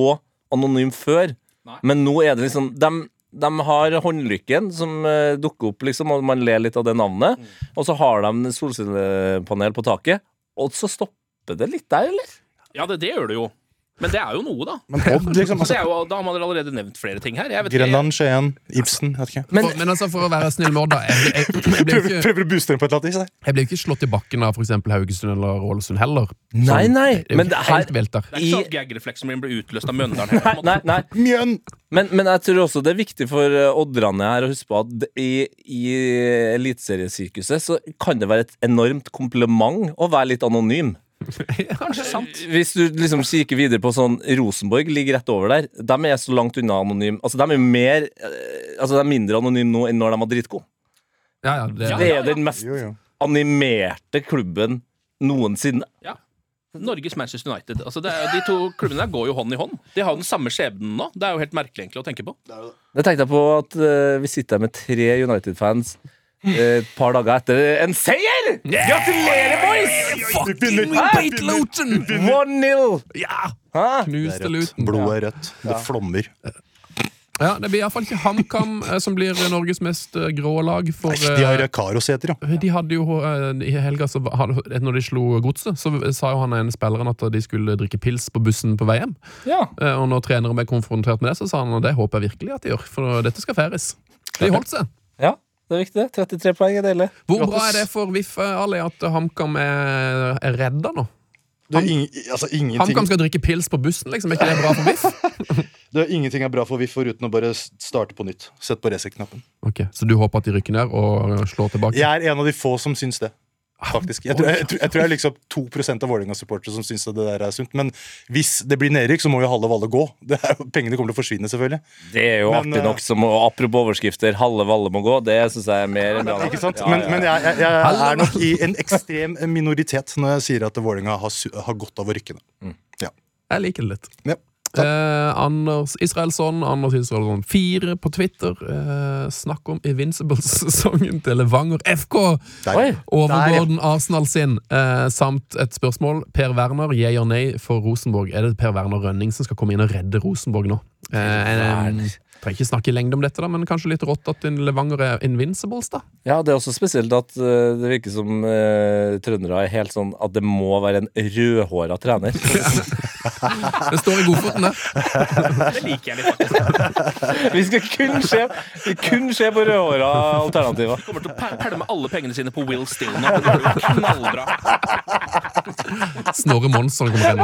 [SPEAKER 3] anonyme før. Men nå er det liksom De, de har håndlykken som eh, dukker opp, liksom, og man ler litt av det navnet. Og så har de solcellepanel på taket, og så stopper det litt der, eller?
[SPEAKER 4] Ja, det, det gjør det jo. Men det er jo noe, da.
[SPEAKER 5] Men Odd, liksom.
[SPEAKER 4] Så det
[SPEAKER 5] altså,
[SPEAKER 4] er jo, da har man allerede nevnt flere ting her. Jeg vet ikke,
[SPEAKER 5] Grenland, Skien, Ibsen. jeg vet ikke.
[SPEAKER 2] Men, for, men altså, for å være snill med Odd, da. Jeg, jeg, jeg, ble jo
[SPEAKER 5] Prøver,
[SPEAKER 2] ikke,
[SPEAKER 5] prøver å booste dem på et eller annet vis. der.
[SPEAKER 2] jeg ble jo ikke slått i bakken av for eksempel Haugesund eller Ålesund heller. Sånn,
[SPEAKER 3] Nei, nei,
[SPEAKER 2] det er jo
[SPEAKER 3] men
[SPEAKER 2] ikke
[SPEAKER 3] det her-
[SPEAKER 2] helt velter.
[SPEAKER 4] det er ikke sånn at gag-refleksen min blir utløst av Mjøndalen. her, på en måte.
[SPEAKER 3] Nei, nei.
[SPEAKER 5] Mjøn!
[SPEAKER 3] Men, men jeg tror også det er viktig for eh, odderne her å huske på at det- i, i eliteseriesirkuset så kan det være et enormt kompliment å være litt anonym.
[SPEAKER 4] Kanskje sant.
[SPEAKER 3] Hvis du liksom kikker videre på sånn Rosenborg ligger rett over der. De er så langt unna anonym Altså, de er jo mer eh, Altså, de er mindre anonyme nå enn når de var dritgode.
[SPEAKER 2] Ja, ja, det,
[SPEAKER 3] Det er den mest
[SPEAKER 5] Jo, jo.
[SPEAKER 3] animerte klubben noensinne.
[SPEAKER 4] Norges Manchester United. Altså, det er, de to klubbene der går jo hånd i hånd. De har jo den samme skjebnen nå. Det er jo helt merkelig egentlig å tenke på.
[SPEAKER 3] Det tenkte jeg på at eh, vi sitter her med tre United-fans eh, et par dager etter en seier! Gratulerer, boys!
[SPEAKER 2] Fucking Bate Luton!
[SPEAKER 3] 1-0!
[SPEAKER 2] Ja!
[SPEAKER 3] Hæ?
[SPEAKER 5] Det
[SPEAKER 2] Knuste
[SPEAKER 5] er rødt.
[SPEAKER 2] Luton.
[SPEAKER 5] Blodet er rødt. Det flommer.
[SPEAKER 2] Ja, det blir iallfall ikke HamKam eh, som blir Norges mest eh, grå lag. For,
[SPEAKER 3] Altså,
[SPEAKER 5] Nei, de har
[SPEAKER 2] eh,
[SPEAKER 5] Karos-seter, ja.
[SPEAKER 2] De hadde jo eh, I helga så hadde, Når de slo godset, så sa jo han ene spilleren at de skulle drikke pils på bussen på vei hjem.
[SPEAKER 3] Ja.
[SPEAKER 2] Eh, Og når treneren ble konfrontert med det, så sa han at det håper jeg virkelig at de gjør, for dette skal feires. De holdt seg.
[SPEAKER 3] ja. Det er viktig, det. 33 poeng er deilig.
[SPEAKER 2] Hvor bra er det for VIF, eh, Ali, at HamKam er, er redda nå?
[SPEAKER 5] Det er ing- altså, ingenting
[SPEAKER 2] HamKam skal drikke pils på bussen, liksom. Er ikke det bra for VIF?
[SPEAKER 5] Det er ingenting er bra for VIF foruten å bare starte på nytt. Sett på reset-knappen.
[SPEAKER 2] Ok, Så du håper at de rykker ned og slår tilbake?
[SPEAKER 5] Jeg er en av de få som syns det. Faktisk. Jeg tror jeg, tror- jeg, tror jeg er liksom 2 av Vålerenga-supportere som syns det der er sunt. Men hvis det blir nedrykk, så må jo halve Valle gå. Det er jo, pengene kommer til å forsvinne, selvfølgelig.
[SPEAKER 3] Det er jo
[SPEAKER 5] Men, eh,
[SPEAKER 3] artig nok som å- Apropos overskrifter, halve Valle må gå. Det syns jeg er mer enn bra. nok.
[SPEAKER 5] Ikke sant?
[SPEAKER 3] Ja,
[SPEAKER 5] Men,
[SPEAKER 3] ja, ja.
[SPEAKER 5] men jeg, jeg, jeg er nok i en ekstrem minoritet når jeg sier at Vålerenga har, su- har godt av å rykke ned.
[SPEAKER 2] Jeg liker det litt.
[SPEAKER 5] Ja.
[SPEAKER 2] Eh, Anders Israelsson, Anders Israelsson 4 på Twitter. Eh, snakk om Invincibles-sesongen til Levanger FK.
[SPEAKER 5] Der.
[SPEAKER 3] Oi.
[SPEAKER 5] Der, ja.
[SPEAKER 2] Overgår den Arsenal sin? Eh, samt et spørsmål. Per Werner, jeg og nei for Rosenborg. Er det Per Werner Rønning som skal komme inn og redde Rosenborg nå? Eh,
[SPEAKER 3] Werner.
[SPEAKER 2] eh, Trenger ikke snakke i lengde om dette, da, men kanskje litt rått at en Levanger er Invincibles, da.
[SPEAKER 3] Ja, det er også spesielt at eh, det virker som eh, trøndere er helt sånn at det må være en rødhåra trener.
[SPEAKER 2] Det står i godfoten, det.
[SPEAKER 4] Det liker jeg litt, faktisk.
[SPEAKER 3] Vi skal kun se, kun se på rødhåra alternativer.
[SPEAKER 4] Kommer til å pe- pælme alle pengene sine på Will Still nå. Det blir jo knallbra.
[SPEAKER 2] Snorre Monsson kommer inn.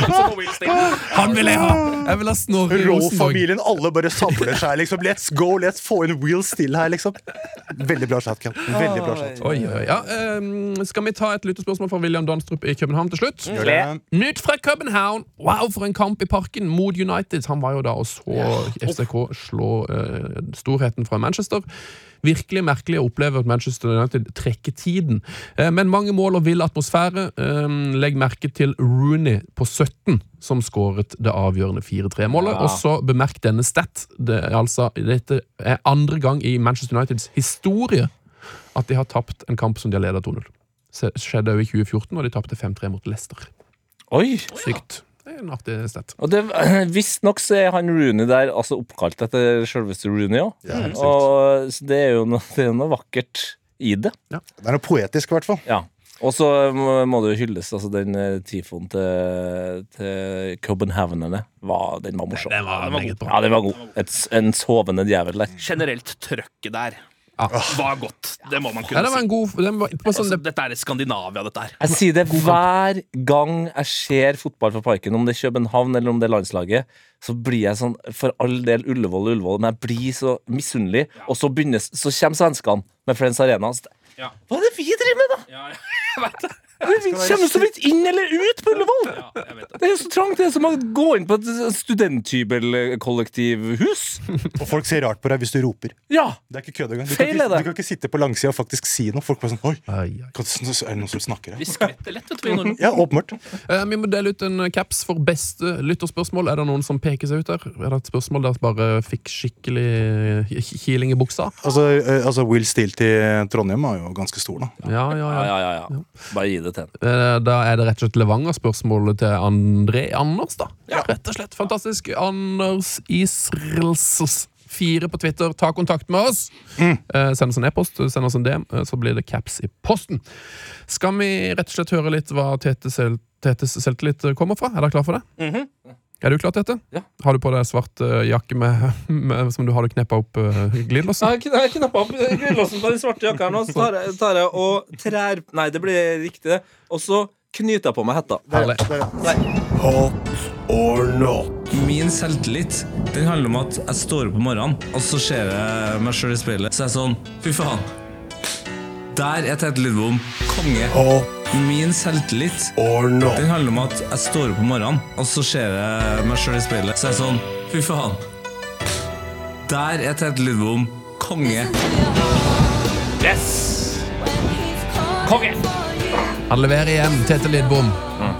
[SPEAKER 4] Så på Will Still.
[SPEAKER 2] Han vil jeg ha! Jeg vil ha Snorre i Rosenborg.
[SPEAKER 5] Rolf-familien, alle bare samler seg. liksom Let's go, let's få inn Will Still her, liksom. Veldig bra chat, Ken. Veldig bra chat.
[SPEAKER 2] Oi, oi, ja. ehm, skal vi ta et lyttespørsmål fra William Danstrup i København til slutt?
[SPEAKER 5] Gjør det.
[SPEAKER 2] Nytt fra København! Wow, for en kamp i parken mot United. Han var jo da og så FCK slå eh, storheten fra Manchester. Virkelig merkelig å oppleve at Manchester United trekker tiden. Eh, men mange mål og vill atmosfære. Eh, legg merke til Rooney på 17, som skåret det avgjørende 4-3-målet. Og så bemerk denne stat. Det er altså, dette er andre gang i Manchester Uniteds historie at de har tapt en kamp som de har ledet 2-0. Se- Skjedde jo i 2014, og de tapte 5-3 mot Leicester.
[SPEAKER 3] Oi!
[SPEAKER 2] Sykt. Det er en artig sted.
[SPEAKER 3] Og det, Visstnok så er han Rooney der altså oppkalt etter selveste Rooney òg.
[SPEAKER 5] Ja, helt sykt.
[SPEAKER 3] Og så det er jo noe, det er noe vakkert i det.
[SPEAKER 5] Det er noe poetisk, i hvert fall.
[SPEAKER 3] Ja. Og så må, må det jo hylles. altså Den eh, tifoen til, til Copenhagenerne, var, den var morsom.
[SPEAKER 2] Den var meget bra.
[SPEAKER 3] Ja, den var god. Et, s- en sovende djevel der.
[SPEAKER 4] Generelt trøkket der
[SPEAKER 5] Ah.
[SPEAKER 2] Ja.
[SPEAKER 4] var godt. Det må man
[SPEAKER 2] Ja,
[SPEAKER 4] kunne
[SPEAKER 2] det var
[SPEAKER 4] si.
[SPEAKER 2] en god den var, det var sånn,
[SPEAKER 4] Altså,
[SPEAKER 2] det,
[SPEAKER 4] dette er Skandinavia, dette her.
[SPEAKER 3] Jeg sier det hver gang jeg ser fotball fra Parken, om det er København eller om det er landslaget, så blir jeg sånn For all del Ullevål og Ullevål, men jeg blir så misunnelig. Og så, begynner, så kommer svenskene med Friends Arena. Så, det-
[SPEAKER 4] Ja.
[SPEAKER 3] hva er det vi driver med, da?!
[SPEAKER 4] Ja, jeg vet det.
[SPEAKER 3] Vi kommer så vidt inn eller ut på Ullevål!
[SPEAKER 4] Ja, jeg vet det.
[SPEAKER 3] Det er jo så trangt! Det er som å gå inn på et studenthybelkollektivhus.
[SPEAKER 5] Og folk ser rart på deg hvis du roper.
[SPEAKER 3] Ja!
[SPEAKER 5] Det er ikke kødd engang. Du,
[SPEAKER 3] Feil
[SPEAKER 5] kan
[SPEAKER 3] er
[SPEAKER 5] ikke-
[SPEAKER 3] det.
[SPEAKER 5] du kan ikke sitte på langsida og faktisk si noe. Folk bare sånn Oi,
[SPEAKER 2] Ai, ai.
[SPEAKER 5] kan- er det noen som snakker her?
[SPEAKER 4] Vi skvetter lett, vet du, vi nordmenn.
[SPEAKER 5] Ja, åpenbart.
[SPEAKER 2] Eh, vi må dele ut en eh, caps for beste lytterspørsmål. Er det noen som peker seg ut der? Er det et spørsmål der som bare fikk skikkelig hi- kiling i buksa?
[SPEAKER 5] Altså, eh, altså Will Steele til Trondheim er jo ganske stor, da.
[SPEAKER 2] Ja, ja,
[SPEAKER 3] Ja,
[SPEAKER 2] ja.
[SPEAKER 3] ja, ja. ja. Bare gi det til ham.
[SPEAKER 2] Eh, Da er det rett og slett Levanger-spørsmålet til André Anders, da. Rett og slett fantastisk. Anders Israels. Fire på Twitter, ta kontakt med oss. Eh, send oss en e-post, send oss en DM, eh, så blir det caps i posten. Skal vi rett og slett høre litt hva Tete selv, Tetes selvtillit kommer fra? Er dere klar for det? Er du klar, Tete?
[SPEAKER 3] Ja.
[SPEAKER 2] Har du på deg svart eh, jakke med, med, som du hadde kneppa opp uh, glidelåsen?
[SPEAKER 3] Jeg kn- jeg knappa opp glidelåsen på den svarte jakka her nå, så tar jeg, tar jeg og trær Nei, det blir riktig, det. Og så knyter jeg på meg hetta.
[SPEAKER 2] Herlig.
[SPEAKER 6] Min selvtillit den handler om at jeg står opp om morgenen, og så ser jeg meg sjøl i speilet. Så er jeg sånn Fy faen. Der er Tete Lidbom konge. Min selvtillit den handler om at jeg står opp om morgenen, og så ser jeg meg sjøl i speilet. Så er jeg sånn Fy faen. Der er Tete Lidbom konge.
[SPEAKER 4] Konge!
[SPEAKER 2] Han leverer igjen, Tete Lidbom.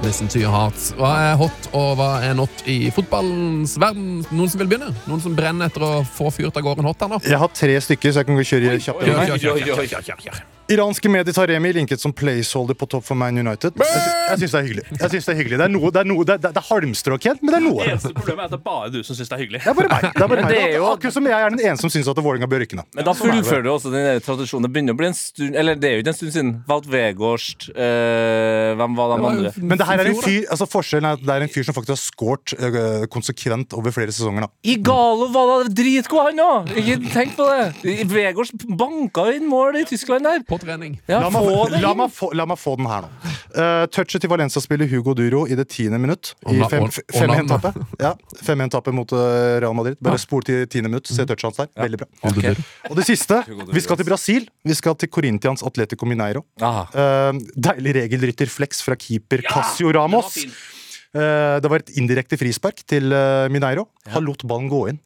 [SPEAKER 2] Listen to your heart. Hva er hot og hva er not i fotballens verden? Noen som vil begynne? Noen som brenner etter å få fyrt av gårde en hot her nå?
[SPEAKER 5] Jeg har tre stykker, så jeg kan gå kjøre kjapt.
[SPEAKER 2] Kjør,
[SPEAKER 5] gjennom her.
[SPEAKER 2] kjør, kjør, kjør,
[SPEAKER 5] Iranske medier har Remi linket som placeholder på topp for Man United. Jeg sy- Jeg syns det er hyggelig. Jeg synes Det er hyggelig Det er noe, det er noe, det er, det er halmstrå, Ken, men det er noe.
[SPEAKER 4] Eneste problemet er at det er bare du som syns det er hyggelig.
[SPEAKER 5] Det er bare meg. Det er bare meg.
[SPEAKER 3] det er jo-
[SPEAKER 5] Akkurat som jeg er den eneste som syns at Vålerenga bør rykke ned.
[SPEAKER 3] Men da fullfører du også den der tradisjonen. Det begynner å bli en stund Eller det er jo ikke en stund siden. Valt Vegårst eh, Hvem var de andre?
[SPEAKER 5] Men det her er en fyr altså forskjellen er at det er en fyr som faktisk har scoret øh, konsekvent over flere sesonger. da
[SPEAKER 3] Igalo var da dritgod, han òg! Ikke tenk på det! Vegårst banka jo inn mål i Tyskland der.
[SPEAKER 2] På trening.
[SPEAKER 3] Ja,
[SPEAKER 5] La meg,
[SPEAKER 3] få det
[SPEAKER 5] la,
[SPEAKER 3] inn!
[SPEAKER 5] meg få, la meg få den her nå. Eh, touchet til Valencia-spiller Hugo Duro i det tiende minutt. I
[SPEAKER 2] Og na- og- og
[SPEAKER 5] 5-1-tapet ja, 5-1-tapet mot eh, Real Madrid. Bare spol til tiende minutt, se touchet hans der. Veldig bra.
[SPEAKER 2] Ok.
[SPEAKER 5] Og det siste. Vi skal til Brasil. Vi skal til Corintians Atletico Mineiro.
[SPEAKER 3] Ah,
[SPEAKER 5] Eh, deilig regelrytter flex fra keeper Casio
[SPEAKER 4] Den var
[SPEAKER 5] Ramos.
[SPEAKER 4] fin.
[SPEAKER 5] Eh, det var et indirekte frispark til eh, Mineiro. Han lot ballen gå inn.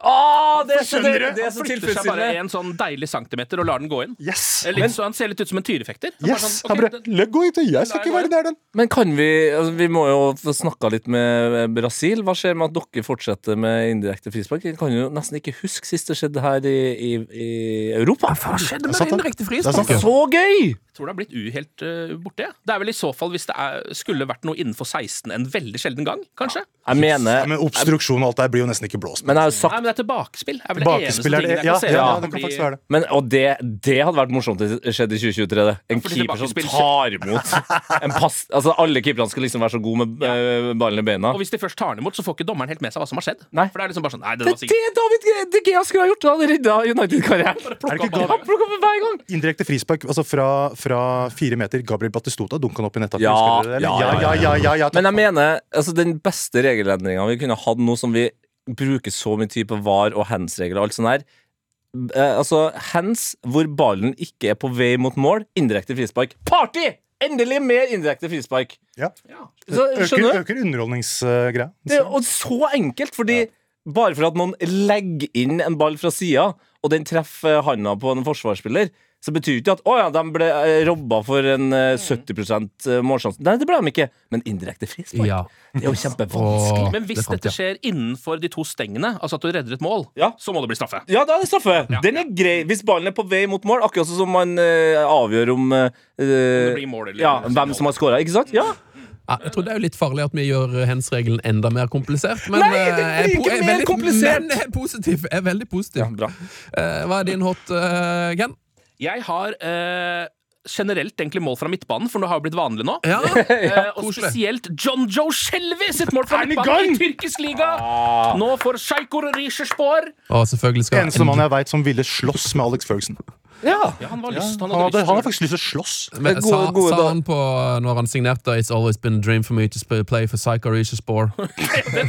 [SPEAKER 3] Ah, det, er så, det,
[SPEAKER 5] Skjønner du?
[SPEAKER 3] det er så
[SPEAKER 4] Flytter seg bare
[SPEAKER 3] tilfredsstillende!
[SPEAKER 4] en sånn deilig centimeter og lar den gå inn.
[SPEAKER 5] Yes!
[SPEAKER 4] Litt så Han ser litt ut som en tyrefekter. Han bare
[SPEAKER 5] Yes!
[SPEAKER 4] sånn,
[SPEAKER 5] Han
[SPEAKER 4] ok,
[SPEAKER 5] bare «La gå ut, jeg skal ikke være nær den.
[SPEAKER 3] Men kan vi altså, Vi må jo få snakka litt med Brasil. Hva skjer med at dere fortsetter med indirekte frispark? Jeg kan jo nesten ikke huske sist det skjedde her i, i, i Europa.
[SPEAKER 2] Hva skjedde
[SPEAKER 5] Det
[SPEAKER 2] med
[SPEAKER 5] er sant,
[SPEAKER 2] den
[SPEAKER 5] det.
[SPEAKER 2] indirekte
[SPEAKER 5] Det er sant,
[SPEAKER 2] frisparket?
[SPEAKER 5] det.
[SPEAKER 3] Så gøy!
[SPEAKER 4] Jeg tror det har blitt uhelt uh, borte. jeg. Det er vel i så fall hvis det er, skulle vært noe innenfor 16 en veldig sjelden gang, kanskje.
[SPEAKER 3] Jeg mener
[SPEAKER 5] Men obstruksjon og alt det her blir jo nesten ikke blåst.
[SPEAKER 3] Men jeg har jo
[SPEAKER 4] Nei,
[SPEAKER 3] sagt
[SPEAKER 4] men det er tilbakespill. Er vel det eneste
[SPEAKER 5] Bakespill er det
[SPEAKER 4] tingen jeg
[SPEAKER 5] Ja,
[SPEAKER 4] kan se
[SPEAKER 5] ja,
[SPEAKER 4] at
[SPEAKER 5] ja, det
[SPEAKER 4] bli-
[SPEAKER 5] kan faktisk være det.
[SPEAKER 3] Men, og det, det hadde vært morsomt hvis det skjedde i 2023. Det. En
[SPEAKER 4] fordi
[SPEAKER 3] keeper som
[SPEAKER 4] tilbakespill-
[SPEAKER 3] tar imot en pass altså Alle keeperne skal liksom være så gode med eh, ballen i beina.
[SPEAKER 4] Og hvis de først tar den imot, så får ikke dommeren helt med seg hva som har skjedd.
[SPEAKER 3] Nei.
[SPEAKER 4] For det er liksom bare sånn, nei, det
[SPEAKER 3] Det
[SPEAKER 4] var
[SPEAKER 3] er
[SPEAKER 4] sikkert
[SPEAKER 3] det David Gre- De Gea skulle ha gjort! Han hadde redda United-karrieren.
[SPEAKER 5] Er det ikke
[SPEAKER 4] Plukka
[SPEAKER 5] Gab-
[SPEAKER 3] Han plukka med hver gang!
[SPEAKER 5] Indirekte frispark altså fra, fra fire meter. Gabriel Batistota dunka han opp i nettaket.
[SPEAKER 3] Ja,
[SPEAKER 5] husker dere det, eller?
[SPEAKER 3] ja, ja,
[SPEAKER 5] ja, ja, ja, ja,
[SPEAKER 3] Men jeg mener, altså den beste regelendringa vi kunne hatt nå som vi bruker så mye tid på var og hands-regler og alt sånt her eh, Altså hands hvor ballen ikke er på vei mot mål, indirekte frispark. Party! Endelig mer indirekte frispark.
[SPEAKER 5] Ja.
[SPEAKER 3] Så,
[SPEAKER 5] Øker,
[SPEAKER 3] skjønner du?
[SPEAKER 5] øker underholdningsgreia.
[SPEAKER 3] Det, og så enkelt, fordi bare for at noen legger inn en ball fra sida, og den treffer handa på en forsvarsspiller, så betyr ikke at å ja, de ble eh, robba for en eh, 70 målsjanse. Nei, det ble de ikke, men indirekte frispark.
[SPEAKER 2] Ja.
[SPEAKER 3] Det er jo kjempevanskelig.
[SPEAKER 2] Åh,
[SPEAKER 4] Men hvis
[SPEAKER 2] det er sant,
[SPEAKER 4] dette skjer innenfor de to stengene, altså at du redder et mål,
[SPEAKER 3] Ja.
[SPEAKER 4] så må det bli straffe.
[SPEAKER 3] Ja, da er det straffe. Den er grei hvis ballen er på vei mot mål. Akkurat sånn som man eh, avgjør om eh,
[SPEAKER 4] blir mål eller-
[SPEAKER 3] ja, hvem som har scora, ikke sant? Ja.
[SPEAKER 2] Ja, jeg tror det er jo litt farlig at vi gjør eh, hens-regelen enda mer komplisert. Men,
[SPEAKER 3] Nei,
[SPEAKER 2] eh, jeg
[SPEAKER 3] det blir
[SPEAKER 2] er po-
[SPEAKER 3] ikke
[SPEAKER 2] jeg er
[SPEAKER 3] mer
[SPEAKER 2] veldig-
[SPEAKER 3] komplisert!
[SPEAKER 2] Men jeg er positiv. Jeg er veldig positiv.
[SPEAKER 3] bra.
[SPEAKER 2] Eh, hva er din hot, eh, Ken?
[SPEAKER 4] Jeg har eh, generelt egentlig mål fra midtbanen, for det har jo blitt vanlig nå.
[SPEAKER 2] Ja,
[SPEAKER 4] Eh, og
[SPEAKER 2] koselig.
[SPEAKER 4] spesielt John Joe Shelby sitt mål
[SPEAKER 3] Er
[SPEAKER 4] fra
[SPEAKER 3] han i
[SPEAKER 4] midtbanen i
[SPEAKER 3] gang? Ah.
[SPEAKER 4] tyrkisk liga! Nå får Sjajkor Rizjespor
[SPEAKER 2] Og selvfølgelig skal
[SPEAKER 5] Eneste mann jeg veit som ville slåss med Alex Ferguson.
[SPEAKER 4] Ja, han var lyst.
[SPEAKER 5] Han
[SPEAKER 4] han hadde
[SPEAKER 5] hadde, han hadde
[SPEAKER 4] lyst.
[SPEAKER 5] faktisk lyst til å slåss.
[SPEAKER 2] Men
[SPEAKER 3] Gode-
[SPEAKER 2] sa,
[SPEAKER 3] gode
[SPEAKER 2] sa
[SPEAKER 3] da-
[SPEAKER 2] han på når han signerte It's always been a dream for me to sp- play for Psycho Risha Spore.
[SPEAKER 4] Det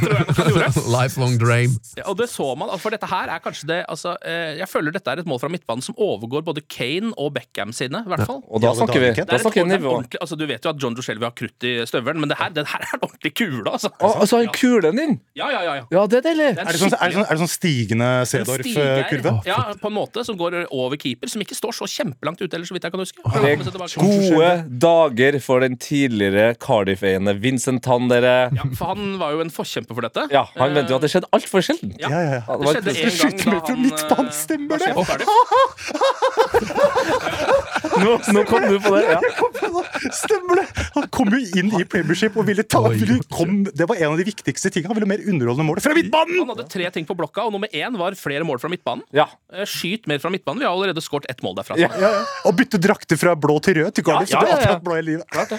[SPEAKER 4] tror jeg nok han gjorde.
[SPEAKER 2] Lifelong dream.
[SPEAKER 4] Ja, Og det så man, altså, for dette her er kanskje det altså, eh, Jeg føler dette er et mål fra midtbanen som overgår både Kane og Beckham sine, i hvert fall.
[SPEAKER 3] Og da
[SPEAKER 5] Ja, men
[SPEAKER 3] snakker vi
[SPEAKER 5] da er det
[SPEAKER 4] Det
[SPEAKER 5] ikke-
[SPEAKER 3] Da
[SPEAKER 4] er et
[SPEAKER 3] snakker vi
[SPEAKER 4] ordentlig-
[SPEAKER 3] nivå.
[SPEAKER 4] ordentlig- altså, du vet jo at John Joshelvi har krutt i støvelen, men det her, den her er en ordentlig kule, altså.
[SPEAKER 3] Å, Og så har han kulen din!
[SPEAKER 4] Ja, ja, ja, ja.
[SPEAKER 3] Ja, det er deilig.
[SPEAKER 4] Det
[SPEAKER 5] Er det sånn, er det sånn, er det sånn stigende
[SPEAKER 3] eh,
[SPEAKER 4] skikkelig-
[SPEAKER 5] Cedorf-kurve?
[SPEAKER 4] Ja, på en måte som går over keeper, som ikke står så kjempelangt ute heller, så vidt jeg kan huske.
[SPEAKER 3] Det
[SPEAKER 4] Ja, men se tilbake.
[SPEAKER 3] er gode dager for den tidligere Cardiff-eiende Vincent Tann, dere.
[SPEAKER 4] Ja, for han var jo en forkjemper for dette.
[SPEAKER 3] Ja, han venter jo at det skjedde altfor sjelden.
[SPEAKER 5] Ja, ja, ja.
[SPEAKER 4] Det
[SPEAKER 3] plutselig-
[SPEAKER 4] skjedde en gang
[SPEAKER 5] Skyter
[SPEAKER 4] da
[SPEAKER 5] meg fra
[SPEAKER 4] han,
[SPEAKER 5] midtbanen,
[SPEAKER 4] eh,
[SPEAKER 5] stemmer
[SPEAKER 4] var
[SPEAKER 5] det?
[SPEAKER 4] sjef for Cardiff.
[SPEAKER 3] Nå, nå kom du på det. Ja.
[SPEAKER 5] Stemmer det! Han kom jo inn i Premiership og ville ta ville kom, Det var en av de viktigste tingene. Han ville mer underholdende mål fra midtbanen!
[SPEAKER 4] Han hadde tre ting på blokka, og nummer én var flere mål fra midtbanen.
[SPEAKER 3] Ja.
[SPEAKER 4] Eh, Skyt mer fra midtbanen. Vi har allerede skåret ett mål derfra.
[SPEAKER 3] Ja.
[SPEAKER 5] Ja, ja. Og bytte drakter fra blå til rød til Cardiff.
[SPEAKER 3] Ja, ja,
[SPEAKER 5] så
[SPEAKER 3] ja,
[SPEAKER 5] det
[SPEAKER 3] ja.
[SPEAKER 5] er akkurat blå i livet.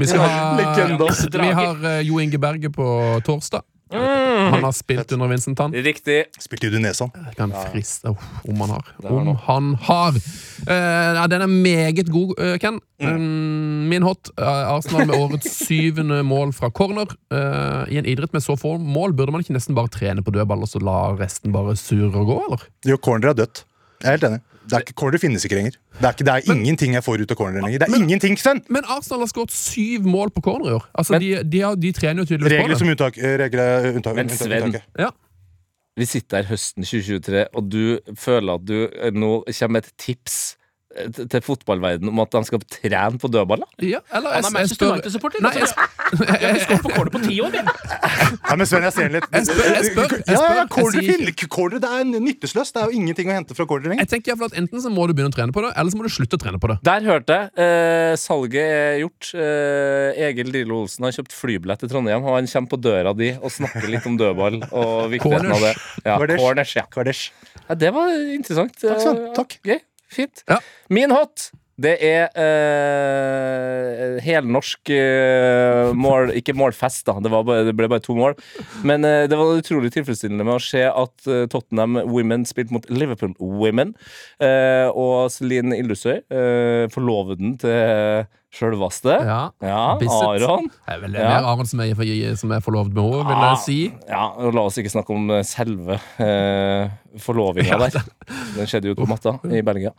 [SPEAKER 2] Vi, skal ha,
[SPEAKER 5] Legende.
[SPEAKER 2] vi har eh, Jo Inge Berge på torsdag. Han har spilt under Vincent Tann.
[SPEAKER 3] Riktig.
[SPEAKER 5] Spilte i Udinese, han.
[SPEAKER 2] Jeg kan friste Uff, om han har. Om han har! Eh, ja, den er meget god, eh, Ken. Mm, min hot eh, Arsenal med årets syvende mål fra corner. Eh, I en idrett med så få mål, burde man ikke nesten bare trene på dødball og så la resten bare surre og gå, eller?
[SPEAKER 5] Jo, corner er dødt. Jeg er helt enig. Det er ikke, corner finnes ikke lenger. Det er, ikke, det er ingenting jeg får ut av corner lenger. Det er ingenting, Sven!
[SPEAKER 2] Men Arsenal har skåret syv mål på corner i år. Altså,
[SPEAKER 3] Men-
[SPEAKER 2] de, de, har, de trener jo tydeligvis
[SPEAKER 5] Regler
[SPEAKER 2] på det.
[SPEAKER 5] som unntak. eh, Regler, eh, unntak,
[SPEAKER 3] Men
[SPEAKER 5] unntak,
[SPEAKER 3] Sven.
[SPEAKER 5] unntaket.
[SPEAKER 2] Ja.
[SPEAKER 3] vi sitter her høsten 2023, og du føler at du eh, nå kommer med et tips eh, t- til fotballverdenen om at de skal trene på dødballer?
[SPEAKER 2] Ja, eller jeg-
[SPEAKER 4] Han er
[SPEAKER 2] jeg
[SPEAKER 4] Manchester
[SPEAKER 2] spør-
[SPEAKER 4] United-supporter.
[SPEAKER 2] Nei, jeg,
[SPEAKER 4] altså. Vi har ikke skåret på corner på ti år, vi.
[SPEAKER 5] Nei, men Sven, jeg ser den litt.
[SPEAKER 2] Jeg spør- jeg spør- jeg
[SPEAKER 5] ja, ja, ja,
[SPEAKER 2] spør-
[SPEAKER 5] corner,
[SPEAKER 2] jeg sier-
[SPEAKER 5] finner ikke- corner det er nytteløst. Det er jo ingenting å hente fra corner lenger.
[SPEAKER 2] jeg tenker i hvert fall at Enten så må du begynne å trene på det, eller så må du slutte å trene på det.
[SPEAKER 3] Der hørte jeg. Eh, salget er gjort. Eh, Egil Drillo Olsen har kjøpt flybillett til Trondheim, og han kommer på døra di og snakker litt om dødball og viktigheten av det. Ja,
[SPEAKER 5] Corners.
[SPEAKER 3] corners ja.
[SPEAKER 5] Kardesh.
[SPEAKER 3] ja, det var interessant.
[SPEAKER 5] Takk, Sven.
[SPEAKER 3] Eh,
[SPEAKER 5] Takk.
[SPEAKER 3] Gøy. Fint.
[SPEAKER 2] Ja.
[SPEAKER 3] Min hot! Det er eh, helnorsk eh, mål Ikke målfest, da. Det, var bare, det ble bare to mål. Men eh, det var utrolig tilfredsstillende med å se at eh, Tottenham Women spilte mot Liverpool Women. Eh, og Celine Illusøy, eh, forloveden til eh, sjølvaste
[SPEAKER 2] Ja.
[SPEAKER 3] Ja,
[SPEAKER 2] Bisset.
[SPEAKER 3] Aron.
[SPEAKER 2] Det er vel
[SPEAKER 3] Ja.
[SPEAKER 2] mer Aron som er, som er forlovd med henne, vil
[SPEAKER 3] Ah.
[SPEAKER 2] jeg si.
[SPEAKER 3] Ja, og La oss ikke snakke om eh, selve eh, forlovinga der. Den skjedde jo på matta i Belgia.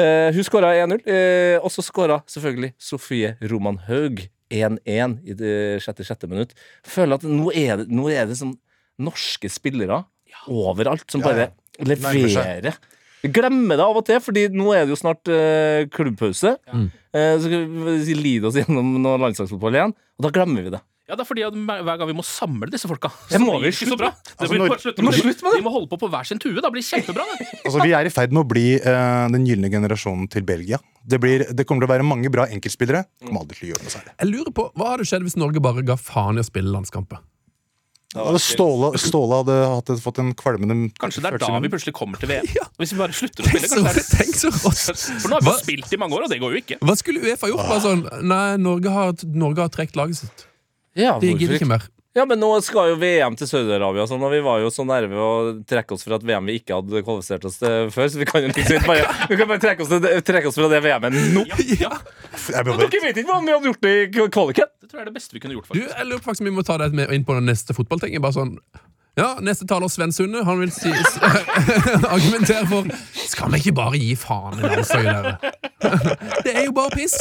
[SPEAKER 3] Eh, hun skåra 1-0, eh, og så skåra selvfølgelig Sofie Roman Haug 1-1 i det sjette-sjette minutt. Føler at nå er det, nå er det sånn norske spillere overalt som
[SPEAKER 5] Ja, ja.
[SPEAKER 3] bare
[SPEAKER 5] Nærmer seg.
[SPEAKER 3] leverer. Glemme det av og til, Fordi nå er det jo snart eh, klubbpause.
[SPEAKER 5] Mm.
[SPEAKER 3] Eh, så skal vi lide oss gjennom noe landslagsfotball igjen, og da glemmer vi det.
[SPEAKER 4] Ja, det er fordi at hver gang vi må samle disse folka.
[SPEAKER 3] Det må
[SPEAKER 4] Så
[SPEAKER 3] vi
[SPEAKER 4] det gikk ikke så
[SPEAKER 3] slutte
[SPEAKER 4] bra.
[SPEAKER 3] med.
[SPEAKER 4] Det
[SPEAKER 5] Altså,
[SPEAKER 4] blir
[SPEAKER 5] når-
[SPEAKER 4] bare slutt
[SPEAKER 5] vi må
[SPEAKER 4] med.
[SPEAKER 3] slutte med det.
[SPEAKER 4] Vi må holde på på hver sin tue. Da blir det kjempebra. Det.
[SPEAKER 5] Altså, vi er i ferd med å bli eh, den gylne generasjonen til Belgia. Det, blir, det kommer til å være mange bra enkeltspillere. Kommer aldri til å gjøre noe særlig.
[SPEAKER 2] Jeg lurer på, Hva hadde skjedd hvis Norge bare ga faen i å spille landskamper?
[SPEAKER 5] Og Ståle, Ståle hadde hatt, fått en kvalmende
[SPEAKER 4] Kanskje det er da vi plutselig kommer til VM. Hvis vi bare slutter å
[SPEAKER 2] Tenk så,
[SPEAKER 4] spille. kanskje det er-
[SPEAKER 2] tenk så rått!
[SPEAKER 4] For nå har vi
[SPEAKER 2] Hva-
[SPEAKER 4] jo spilt i mange år, og det går jo ikke.
[SPEAKER 2] Hva skulle Uefa gjort? Bare sånn, nei, Norge har, Norge har trukket laget sitt.
[SPEAKER 3] Ja,
[SPEAKER 2] De gidder ikke mer.
[SPEAKER 3] Ja, men nå skal jo VM til Saudi-Arabia, og sånn, og vi var jo så nærme å trekke oss fra et VM vi ikke hadde kvalifisert oss til før, så vi kan jo liksom ikke bare, vi kan bare trekke, oss til, det- trekke oss fra det VM-et nå.
[SPEAKER 4] Ja,
[SPEAKER 5] Jeg ble bare-
[SPEAKER 3] Dere vet ikke hvordan vi hadde gjort det i kvaliken.
[SPEAKER 4] Det tror jeg er det beste vi kunne gjort,
[SPEAKER 2] Du,
[SPEAKER 4] faktisk.
[SPEAKER 2] jeg lurer faktisk om vi må ta det med inn på den neste fotballtingen. Bare sånn ja, Neste taler Sven Sunde Han vil si, s- argumentere for Skal vi ikke bare gi faen i landslaget der? det er jo bare piss!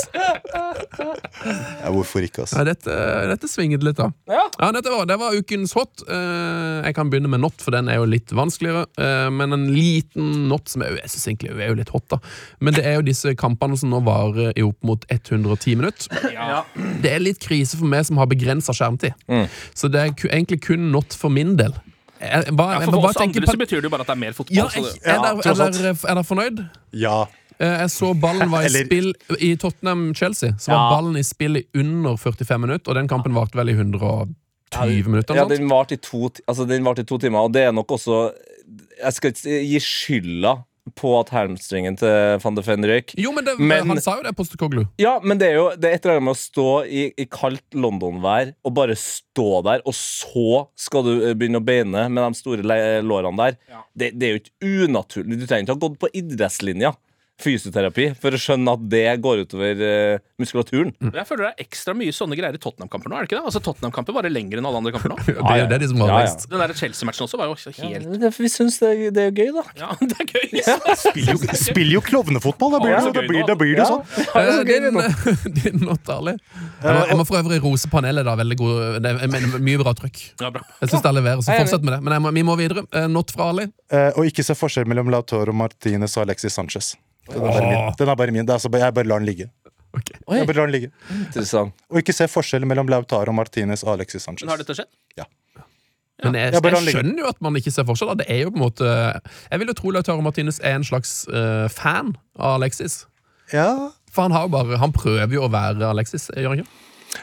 [SPEAKER 5] Ja, hvorfor ikke, altså?
[SPEAKER 2] Ja, dette, dette svinget litt, da.
[SPEAKER 3] Ja.
[SPEAKER 2] dette var, det var ukens hot. Eh, Jeg kan begynne med not, for den er jo litt vanskeligere. Eh, Men en liten not som er, jo- jeg synes egentlig er jo litt hot, da. Men det er jo disse kampene som nå varer i opp mot 110 minutter.
[SPEAKER 4] Ja.
[SPEAKER 2] Det er litt krise for meg som har begrensa skjermtid.
[SPEAKER 4] Mm.
[SPEAKER 2] Så det er ku- egentlig kun not for min del. Jeg, hva,
[SPEAKER 4] Ja,
[SPEAKER 2] jeg,
[SPEAKER 4] for,
[SPEAKER 2] bare
[SPEAKER 4] oss
[SPEAKER 2] tenker
[SPEAKER 4] andre
[SPEAKER 2] på-
[SPEAKER 4] så betyr det jo bare at det er mer fotball.
[SPEAKER 2] ja,
[SPEAKER 4] så
[SPEAKER 2] jeg,
[SPEAKER 4] det-
[SPEAKER 2] er,
[SPEAKER 5] Ja,
[SPEAKER 2] der,
[SPEAKER 5] tross
[SPEAKER 2] er,
[SPEAKER 5] alt.
[SPEAKER 2] der, er der fornøyd?
[SPEAKER 5] Ja.
[SPEAKER 2] Eh, Jeg så ballen var i
[SPEAKER 5] Eller-
[SPEAKER 2] spill i Tottenham-Chelsea. Så var
[SPEAKER 3] Ja.
[SPEAKER 2] ballen i spill i under 45 minutter, og den kampen varte vel i 120 minutter.
[SPEAKER 3] Ja,
[SPEAKER 2] eller noe sånt.
[SPEAKER 3] den varte i, to ti- altså, den varte i to timer, og det er nok også Jeg skal ikke si- gi skylda på at hamstringen til van de Ven røyk.
[SPEAKER 2] Jo, men, det,
[SPEAKER 3] Men-
[SPEAKER 2] han sa jo det, Postekoglu.
[SPEAKER 3] Ja, men det er jo det er et eller annet med å stå i, i kaldt London-vær og bare stå der, og så skal du eh, begynne å beine med de store le- eh, lårene der.
[SPEAKER 4] Ja.
[SPEAKER 3] Det, det er jo ikke unaturlig. Du trenger ikke ha gått på idrettslinja, fysioterapi, for å skjønne at det går utover eh, muskulaturen.
[SPEAKER 4] Jeg føler det er ekstra mye sånne greier i Tottenham-kamper nå. er det ikke det? Altså, Tottenham-kamper varer lenger enn alle andre kamper nå.
[SPEAKER 2] Det er jo det de som har
[SPEAKER 3] Ja, ja.
[SPEAKER 2] reist.
[SPEAKER 4] Den der Chelsea-matchen også var jo også
[SPEAKER 3] Ja,
[SPEAKER 4] helt
[SPEAKER 3] men det- vi syns det, er- det er gøy, da.
[SPEAKER 4] Ja, det er gøy!
[SPEAKER 5] Spiller jo, spiller jo klovnefotball! Da blir
[SPEAKER 4] Ja,
[SPEAKER 5] det,
[SPEAKER 4] så
[SPEAKER 5] da
[SPEAKER 4] gøy
[SPEAKER 5] blir,
[SPEAKER 4] nå.
[SPEAKER 5] da blir det sånn.
[SPEAKER 2] Eh, Din, din not, Ali. Jeg må, jeg må for øvrig rose panelet. da, veldig god, det er men- mye bra trykk.
[SPEAKER 4] Ja, bra.
[SPEAKER 2] Jeg syns det leverer, så
[SPEAKER 3] Jeg er enig.
[SPEAKER 2] fortsett med det. Men jeg må, vi må videre. Eh, Not fra Ali.
[SPEAKER 5] Eh, og ikke se forskjell mellom Lautaro Martinez og Alexis Sanchez. Den er bare
[SPEAKER 2] Åh.
[SPEAKER 4] Ah.
[SPEAKER 5] min. Den er bare min. Det er altså, bare- jeg bare lar den ligge.
[SPEAKER 2] Ok.
[SPEAKER 3] Oi.
[SPEAKER 5] Jeg bare lar den ligge.
[SPEAKER 3] Interessant.
[SPEAKER 5] Og ikke se forskjell mellom Lautaro Martinez og Alexis Sanchez.
[SPEAKER 4] Men har dette skjedd?
[SPEAKER 2] Men jeg,
[SPEAKER 5] Ja, bare la
[SPEAKER 2] jeg
[SPEAKER 5] den ligge.
[SPEAKER 2] skjønner jo at man ikke ser forskjell. da. Det er jo på en måte Jeg vil jo tro Lautaro Martinez er en slags eh, fan av Alexis.
[SPEAKER 5] Ja.
[SPEAKER 2] For han, har jo bare, han prøver jo å være Alexis. eh, Gjør han ikke?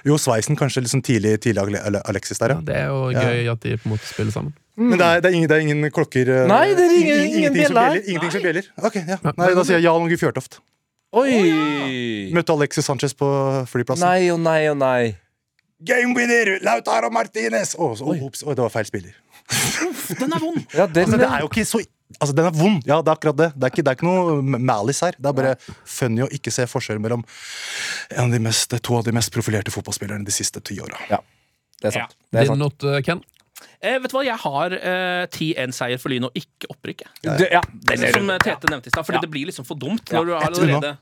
[SPEAKER 5] Jo, sveisen kanskje litt sånn tidlig, tidlig Ale- Ale- Alexis der, ja.
[SPEAKER 2] Det er jo gøy at de på en måte spiller sammen.
[SPEAKER 5] Men det er, det er, ingen, det er ingen klokker eh,
[SPEAKER 3] Nei, det er ingen-
[SPEAKER 5] ing-
[SPEAKER 3] ingen
[SPEAKER 5] ingenting, som
[SPEAKER 3] bjeller.
[SPEAKER 5] bjeller, ingenting som bjeller. Ok, ja. Nei, Da sier jeg Jan Åge Fjørtoft.
[SPEAKER 3] Oi!
[SPEAKER 5] Møtte Alexis Sanchez på flyplassen.
[SPEAKER 3] Nei og nei og nei.
[SPEAKER 5] Game winner! Lautaro Martinez! Å, så- ops, oi, det var feil spiller.
[SPEAKER 4] Den er vond!
[SPEAKER 3] Ja, den,
[SPEAKER 5] Altså, det er jo ikke så Altså, Den er vond! Ja, det er akkurat det. Det er ikke, det er ikke noe m- malice her. Det er bare funny å ikke se forskjell mellom en av de mest, to av de mest profilerte fotballspillerne de siste ti åra.
[SPEAKER 3] det er sant. Det er
[SPEAKER 2] Din
[SPEAKER 3] sant.
[SPEAKER 2] not, eh, Ken?
[SPEAKER 4] Eh, vet du hva, jeg har eh, 10-1-seier for Lyn og ikke opprykk. jeg.
[SPEAKER 3] Det, ja, den er
[SPEAKER 4] Som eh, Tete nevnte i stad, fordi det blir liksom for dumt når du har
[SPEAKER 5] ett unna.
[SPEAKER 4] allerede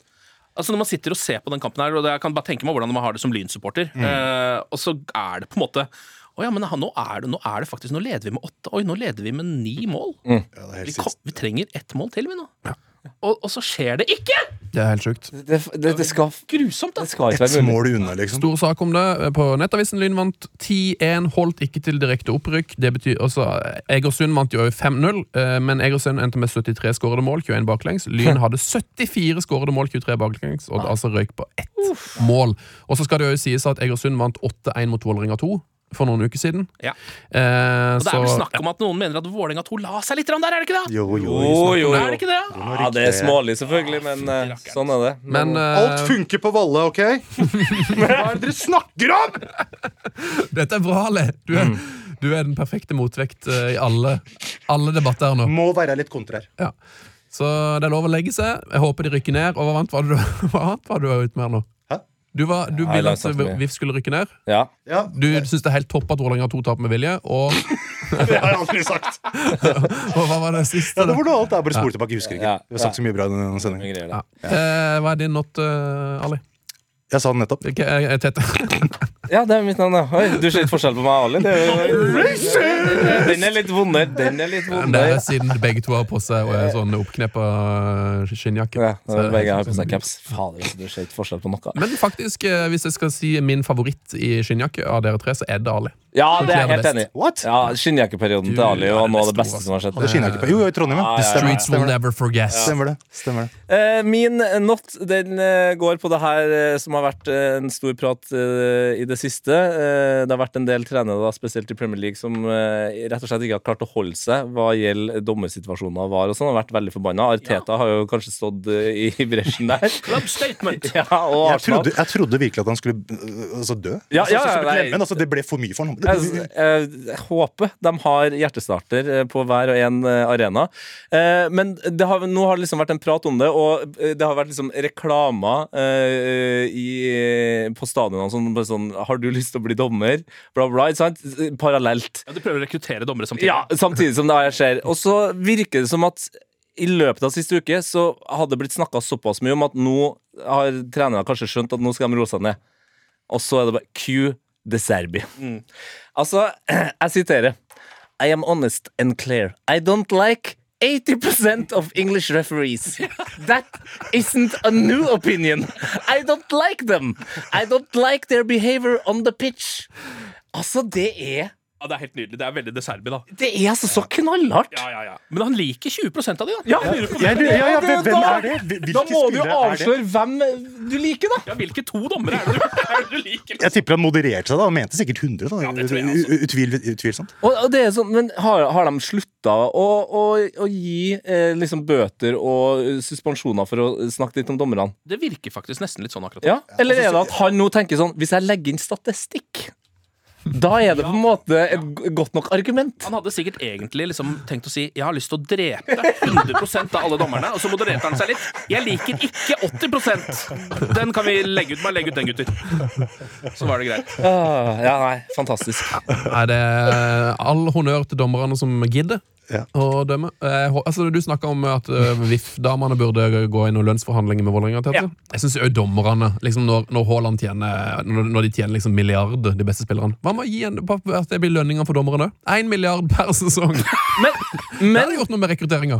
[SPEAKER 4] Altså Når man sitter og ser på den kampen her, og det- jeg kan bare tenke meg hvordan man har det som Lyn-supporter, eh, og så er det på en måte å ja, men han- nå er, det, nå er det faktisk Nå leder vi med åtte. Oi, nå leder vi med ni mål.
[SPEAKER 5] Ja, det er
[SPEAKER 4] Vi,
[SPEAKER 5] helt
[SPEAKER 4] kom,
[SPEAKER 5] sinnssykt.
[SPEAKER 4] vi trenger ett mål til, vi nå. Og, og så skjer det ikke!
[SPEAKER 2] Det er helt sjukt.
[SPEAKER 3] det, det, det, skal,
[SPEAKER 4] Grusomt, da.
[SPEAKER 3] det skal ikke
[SPEAKER 5] Et
[SPEAKER 3] være mulig.
[SPEAKER 5] mål unna, liksom.
[SPEAKER 2] Stor sak om det eh, på Nettavisen. Lyn vant 10-1, holdt ikke til direkte opprykk. Det betyr også Egersund vant jo 5-0, eh, men Egersund endte med 73 skårede mål, 21 baklengs. Lyn hadde 74 skårede mål, 23 baklengs, og det altså røyk på ett mål. Og så skal det jo sies at Egersund vant 8-1 mot Vålerenga 2 for noen uker siden.
[SPEAKER 4] Ja.
[SPEAKER 2] Eh,
[SPEAKER 4] Og det er vel
[SPEAKER 2] så-
[SPEAKER 4] snakk om at noen mener at Vålerenga 2 la seg litt grann der, er det ikke det?
[SPEAKER 5] Jo, jo,
[SPEAKER 3] Jo, jo,
[SPEAKER 4] Er
[SPEAKER 3] jo.
[SPEAKER 4] det ikke det?
[SPEAKER 3] Ja, det er smålig, selvfølgelig, men eh, sånn er det.
[SPEAKER 2] men eh,
[SPEAKER 5] Alt funker på Valle, OK? Hva er det dere snakker om?!
[SPEAKER 2] dette er bra, Ale! Du er, du er den perfekte motvekt eh, i alle, alle debatter her nå.
[SPEAKER 5] Må være litt kontrær.
[SPEAKER 2] Ja. Så det er lov å legge seg. Jeg håper de rykker ned. Og hva annet var det du, hva annet var, det du var ute med her nå?
[SPEAKER 5] Hæ?
[SPEAKER 2] Du, var, du
[SPEAKER 3] Nei,
[SPEAKER 2] ville
[SPEAKER 3] langt
[SPEAKER 2] at
[SPEAKER 3] sagt mye.
[SPEAKER 2] VIF skulle rykke ned.
[SPEAKER 3] Ja.
[SPEAKER 5] Ja,
[SPEAKER 2] Du syns det er helt topp at Vålerenga har to tap med vilje. Og,
[SPEAKER 5] det har jeg aldri sagt.
[SPEAKER 2] og hva var det
[SPEAKER 5] Ja,
[SPEAKER 2] siste?
[SPEAKER 5] det var noe annet. Jeg bare spoler tilbake. Jeg husker ikke.
[SPEAKER 3] Ja,
[SPEAKER 5] Vi har sagt så mye bra i denne
[SPEAKER 3] vi
[SPEAKER 5] sendingen.
[SPEAKER 3] greier det.
[SPEAKER 2] Ja. Eh, hva er din not, eh, Ali?
[SPEAKER 5] Jeg sa det nettopp.
[SPEAKER 2] Ikke, eh, eh, Tete.
[SPEAKER 3] Ja, det er mitt navn, ja. Oi, du ser litt forskjell på meg og Ali. Det er jo- Den er litt vondere. Den er litt
[SPEAKER 2] Det er
[SPEAKER 3] vondere.
[SPEAKER 2] siden begge to har på seg og er sånn oppkneppa eh, skinnjakke.
[SPEAKER 3] Ja, det
[SPEAKER 2] Så-
[SPEAKER 3] er begge har på seg caps. Fader, altså, du ser ikke forskjell på noe.
[SPEAKER 2] Men faktisk, eh, hvis jeg skal si min favoritt i skinnjakke av dere tre, så er det Ali.
[SPEAKER 3] Ja, det er jeg helt
[SPEAKER 2] Kler
[SPEAKER 3] enig i.
[SPEAKER 5] What?
[SPEAKER 3] Ja, Skinnjakkeperioden til Ali
[SPEAKER 2] Du er
[SPEAKER 3] var noe
[SPEAKER 2] det
[SPEAKER 3] av det
[SPEAKER 2] beste
[SPEAKER 3] beste som har skjedd.
[SPEAKER 5] Hadde skinnjakke på. Jo, jo, i Trondheim, ja.
[SPEAKER 3] Ja, ja,
[SPEAKER 5] Det stemmer,
[SPEAKER 2] Streets will
[SPEAKER 5] stemmer, det.
[SPEAKER 2] never forget.
[SPEAKER 5] stemmer det. Stemmer det.
[SPEAKER 3] Eh, Min eh, not den eh, går på det her eh, som har vært eh, en stor prat eh, i det siste. Eh, Det har vært en del trenere, da, spesielt i Premier League, som eh, rett og slett ikke har klart å holde seg hva gjelder dommersituasjoner og VAR og sånn. Har vært veldig forbanna. Arteta har jo kanskje stått eh, i bresjen der.
[SPEAKER 4] Club statement!
[SPEAKER 3] Ja, og
[SPEAKER 5] Jeg
[SPEAKER 3] Arsenal.
[SPEAKER 5] trodde, jeg trodde virkelig at han skulle øh, altså, dø.
[SPEAKER 3] Ja,
[SPEAKER 5] altså,
[SPEAKER 3] ja,
[SPEAKER 5] så skulle
[SPEAKER 3] nei.
[SPEAKER 5] klemme, men altså, det ble for mye for ham.
[SPEAKER 3] Jeg, jeg, jeg håper de har hjertestarter eh, på hver og en eh, arena. Eh, Men det har, nå har det liksom vært en prat om det, og eh, det har vært liksom reklamer eh, i, på stadionene som bare sånn Har du lyst til å bli dommer? Bla, bla, ikke sant? Parallelt.
[SPEAKER 4] Ja, du prøver å rekruttere dommere samtidig.
[SPEAKER 3] Ja, samtidig som det her skjer. Og så virker det som at i løpet av siste uke så hadde det blitt snakka såpass mye om at nå har trenerne kanskje skjønt at nå skal de roe seg ned. Og så er det bare Q de Serbi. Altså, jeg siterer I am honest and clear. I don't like 80% of English referees. That isn't a new opinion. I don't like them. I don't like their behavior on the pitch. Altså, det er
[SPEAKER 4] Ja, det er helt nydelig. Det er veldig deserbi, da.
[SPEAKER 3] Det er altså så knallhardt.
[SPEAKER 4] Ja, ja, ja. Men han liker 20 av de, da.
[SPEAKER 3] Ja.
[SPEAKER 4] Jeg lurer på
[SPEAKER 5] Jeg
[SPEAKER 4] hvem-
[SPEAKER 5] lurer- ja, ja,
[SPEAKER 3] det er
[SPEAKER 5] hvem
[SPEAKER 3] da-
[SPEAKER 5] er det? Hvil-
[SPEAKER 3] Da
[SPEAKER 5] hvilke
[SPEAKER 3] må du jo
[SPEAKER 5] spillere er det?
[SPEAKER 3] avsløre hvem du liker, da.
[SPEAKER 4] ja, hvilke to dommere er det du, er det du liker?
[SPEAKER 5] Jeg tipper han modererte seg da, han mente sikkert 100. da,
[SPEAKER 4] det tror jeg også.
[SPEAKER 5] U- u- utvil, Utvilsomt.
[SPEAKER 3] Og, og det er sånn, men Har, har de slutta å, å, å gi eh, liksom bøter og eh, suspensjoner for å snakke litt om dommerne?
[SPEAKER 4] Det virker faktisk nesten litt sånn akkurat.
[SPEAKER 3] Ja? Eller er det at han nå tenker sånn Hvis jeg legger inn statistikk, da er det på en måte et g- godt nok argument?
[SPEAKER 4] Han hadde sikkert egentlig liksom tenkt å si Jeg har lyst til å drepe 100 av alle dommerne. Og så modererte han seg litt. Jeg liker ikke 80 Den kan vi legge ut. Bare legge ut den, gutter. Så var det greit.
[SPEAKER 3] Ah, ja, nei, fantastisk.
[SPEAKER 2] Nei, det er all honnør til dommerne som gidder
[SPEAKER 5] Ja.
[SPEAKER 2] å dømme. Eh, hå- altså, du snakka om at eh, VIF-damene burde gå i noen lønnsforhandlinger med Vålerenga. Tete.
[SPEAKER 3] Ja.
[SPEAKER 2] Jeg syns òg dommerne, liksom når, når Haaland tjener når, når de tjener liksom milliarder, de beste spillerne Hva med å gi en, at det blir lønninger for dommerne? Én milliard per sesong!
[SPEAKER 3] Men,
[SPEAKER 2] Det
[SPEAKER 3] men
[SPEAKER 2] hadde gjort noe med rekrutteringa.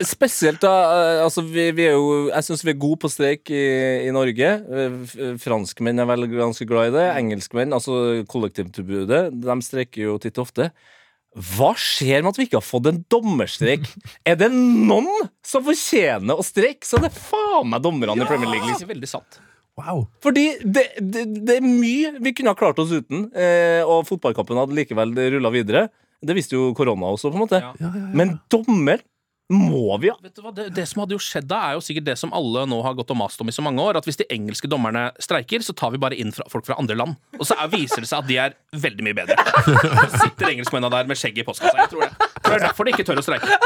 [SPEAKER 3] Spesielt da eh, altså vi, vi er jo, Jeg syns vi er gode på streik i, i Norge. Eh, f- eh, Franskmenn er vel ganske glad i det. Engelskmenn, altså kollektivtilbudet, de streiker jo titt og ofte. Hva skjer med at vi ikke har fått en dommerstreik? Er det noen som fortjener å streike, så er det faen meg dommerne i Premier League.
[SPEAKER 4] Det
[SPEAKER 3] Liksom.
[SPEAKER 4] er Veldig sant.
[SPEAKER 2] Wow.
[SPEAKER 3] Fordi det, det, det er mye vi kunne ha klart oss uten, eh, og fotballkampen hadde likevel rulla videre. Det visste jo korona også, på en måte.
[SPEAKER 4] Ja.
[SPEAKER 3] Men dommer må vi ha.
[SPEAKER 4] Vet du hva, det, det som hadde jo skjedd da, er jo sikkert det som alle nå har gått og mast om i så mange år, at hvis de engelske dommerne streiker, så tar vi bare inn fra, folk fra andre land. Og så er, viser det seg at de er veldig mye bedre. Så sitter engelskmennene der med skjegget i postkassa. Jeg tror det. Det er derfor de ikke tør å streike.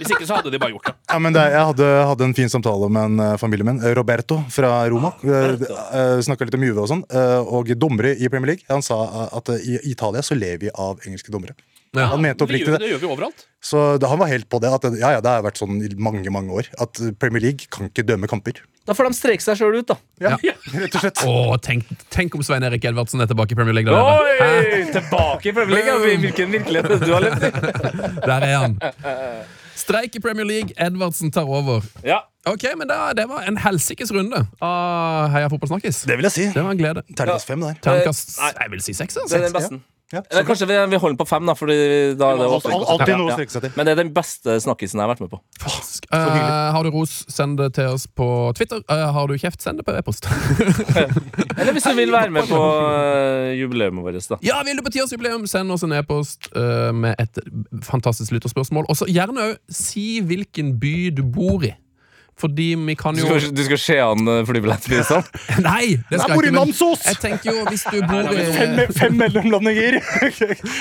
[SPEAKER 4] Hvis ikke så hadde de bare gjort det.
[SPEAKER 5] Ja, men det, er- jeg hadde, hadde en fin samtale med en eh, familiemenn, eh, Roberto fra Roma. Uh, Snakka litt om Juve og sånn. eh, og dommere i Premier League. Han sa eh, at eh, i Italia så lever vi av engelske dommere.
[SPEAKER 2] Ja.
[SPEAKER 5] Han mente
[SPEAKER 4] Det
[SPEAKER 5] oppriktig
[SPEAKER 4] gjør,
[SPEAKER 5] det.
[SPEAKER 4] det gjør vi overalt.
[SPEAKER 5] Så da, han var helt på det. At, eh, ja, ja, det har vært sånn i mange mange år. At eh, Premier League kan ikke dømme kamper.
[SPEAKER 3] Da får de streike seg sjøl ut, da.
[SPEAKER 5] Ja, Rett og slett.
[SPEAKER 2] Åh, tenk, tenk om Svein Erik Edvardsen er tilbake i Premier League. Der, nede. Hæ?
[SPEAKER 3] Tilbake i Premier League. altså, i Hvilken virkelighet du har levd i.
[SPEAKER 2] der er han. Streik i Premier League. Edvardsen tar over.
[SPEAKER 3] Ja.
[SPEAKER 2] Ok, men da, Det var en helsikes runde av Heia fotball snakkes.
[SPEAKER 5] Det vil jeg si.
[SPEAKER 2] Det var en glede.
[SPEAKER 5] Terningkast fem der.
[SPEAKER 2] Terningkast
[SPEAKER 3] Eh, nei.
[SPEAKER 2] Jeg vil si seks.
[SPEAKER 3] Det er
[SPEAKER 2] Altså.
[SPEAKER 3] den beste.
[SPEAKER 5] Ja,
[SPEAKER 3] Eller kanskje vi, vi holder den på fem, da. Fordi da er det
[SPEAKER 5] Alt-
[SPEAKER 3] åpning.
[SPEAKER 5] Alltid noe å
[SPEAKER 3] Ja.
[SPEAKER 5] strekke seg til.
[SPEAKER 3] Men det er den beste snakkisen jeg har vært med på.
[SPEAKER 2] Fask. Eh, har du ros, send det til oss på Twitter. Eh, har du kjeft, send det på e-post.
[SPEAKER 3] Eller hvis du vil være med på eh, jubileet vårt, da.
[SPEAKER 2] ja, vil du på tiårsjubileum, send oss en e-post eh, med et fantastisk lytterspørsmål. Og så gjerne òg si hvilken by du bor i. Fordi vi kan
[SPEAKER 3] Du
[SPEAKER 2] jo
[SPEAKER 3] skal, du skal se an eh, flybillettprisene?
[SPEAKER 2] Nei! det skal
[SPEAKER 5] Jeg bor
[SPEAKER 2] jeg ikke.
[SPEAKER 5] i
[SPEAKER 2] Men
[SPEAKER 5] Namsos!
[SPEAKER 2] jeg tenker jo, hvis du bor
[SPEAKER 5] Fem,
[SPEAKER 2] i
[SPEAKER 5] me- fem mellomlandinger!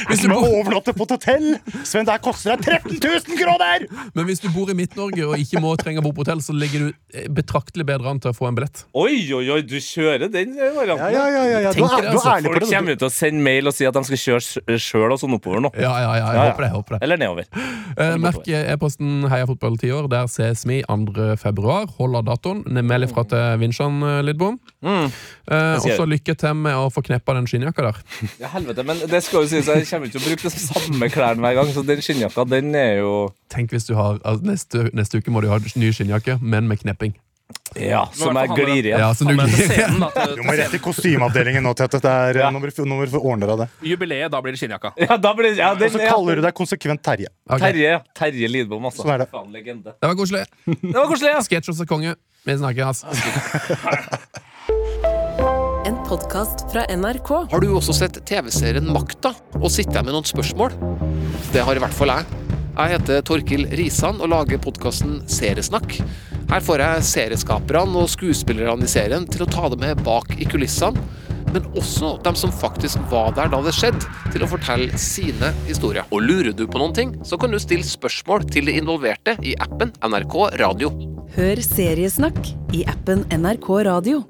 [SPEAKER 5] Hvis
[SPEAKER 2] du
[SPEAKER 5] du må
[SPEAKER 2] bor-
[SPEAKER 5] overnatte på et hotell! Sven, det her koster deg 13 000 kroner!
[SPEAKER 2] Men hvis du bor i Midt-Norge og ikke må trenge å bo på hotell, så ligger du eh, betraktelig bedre an til å få en billett.
[SPEAKER 3] Oi, oi, oi, du kjører den eh, varianten.
[SPEAKER 5] Ja, ja, ja, ja, ja. Du,
[SPEAKER 2] Tenker det,
[SPEAKER 5] er, du er
[SPEAKER 2] altså.
[SPEAKER 3] Folk
[SPEAKER 5] ærlig på det. Du,
[SPEAKER 3] kommer ut og sender mail og sier at de skal kjøre sjøl og sånn oppover nå.
[SPEAKER 2] Ja, ja, ja, jeg
[SPEAKER 3] ja.
[SPEAKER 2] håper det. jeg håper det
[SPEAKER 3] Eller nedover.
[SPEAKER 2] Eh, Merk e-posten Heia fotball 10 år. Der ses vi 2. februar. Holder datoen. Ne- Meld ifra til Vinsjan eh, Lidbom. Eh, og så lykke til med å få kneppa den skinnjakka der.
[SPEAKER 3] Ja, helvete, men det skal jo sies, jeg kommer ikke til å bruke de samme klærne hver gang, så den skinnjakka, den er jo
[SPEAKER 2] Tenk hvis du har altså, neste, neste uke må du ha ny skinnjakke, men med knepping.
[SPEAKER 3] Ja, som jeg
[SPEAKER 4] hvert fall
[SPEAKER 3] glir i.
[SPEAKER 2] Ja, så du
[SPEAKER 4] Han er til
[SPEAKER 2] glir
[SPEAKER 4] scenen, da, til,
[SPEAKER 5] Altså, Du
[SPEAKER 4] til
[SPEAKER 5] må rett i kostymeavdelingen nå, Tete. Det er
[SPEAKER 4] Ja.
[SPEAKER 5] ja. nummer, nummer for ordner av det.
[SPEAKER 4] jubileet. Da blir det skinnjakka.
[SPEAKER 3] Ja, da blir ja,
[SPEAKER 5] Og
[SPEAKER 3] den,
[SPEAKER 5] så
[SPEAKER 3] ja.
[SPEAKER 5] kaller du deg konsekvent Terje.
[SPEAKER 2] Ok,
[SPEAKER 3] Terje, ja. Terje Lidbom, altså.
[SPEAKER 5] Sånn er det.
[SPEAKER 3] Faen, legende.
[SPEAKER 2] Det var koselig.
[SPEAKER 3] Det var koselig, ja.
[SPEAKER 2] Sketsjers og konge. Vi snakkes.
[SPEAKER 7] En podkast fra NRK.
[SPEAKER 8] Har du også sett TV-serien Makta og sitter jeg med noen spørsmål? Det har i hvert fall jeg. Jeg heter Torkil Risan og lager podkasten Seriesnakk. Her får jeg serieskaperne og skuespillerne i serien til å ta det med bak i kulissene, men også dem som faktisk var der da det skjedde, til å fortelle sine historier. Og lurer du på noen ting, så kan du stille spørsmål til de involverte i appen NRK Radio.
[SPEAKER 7] Hør Seriesnakk i appen NRK Radio.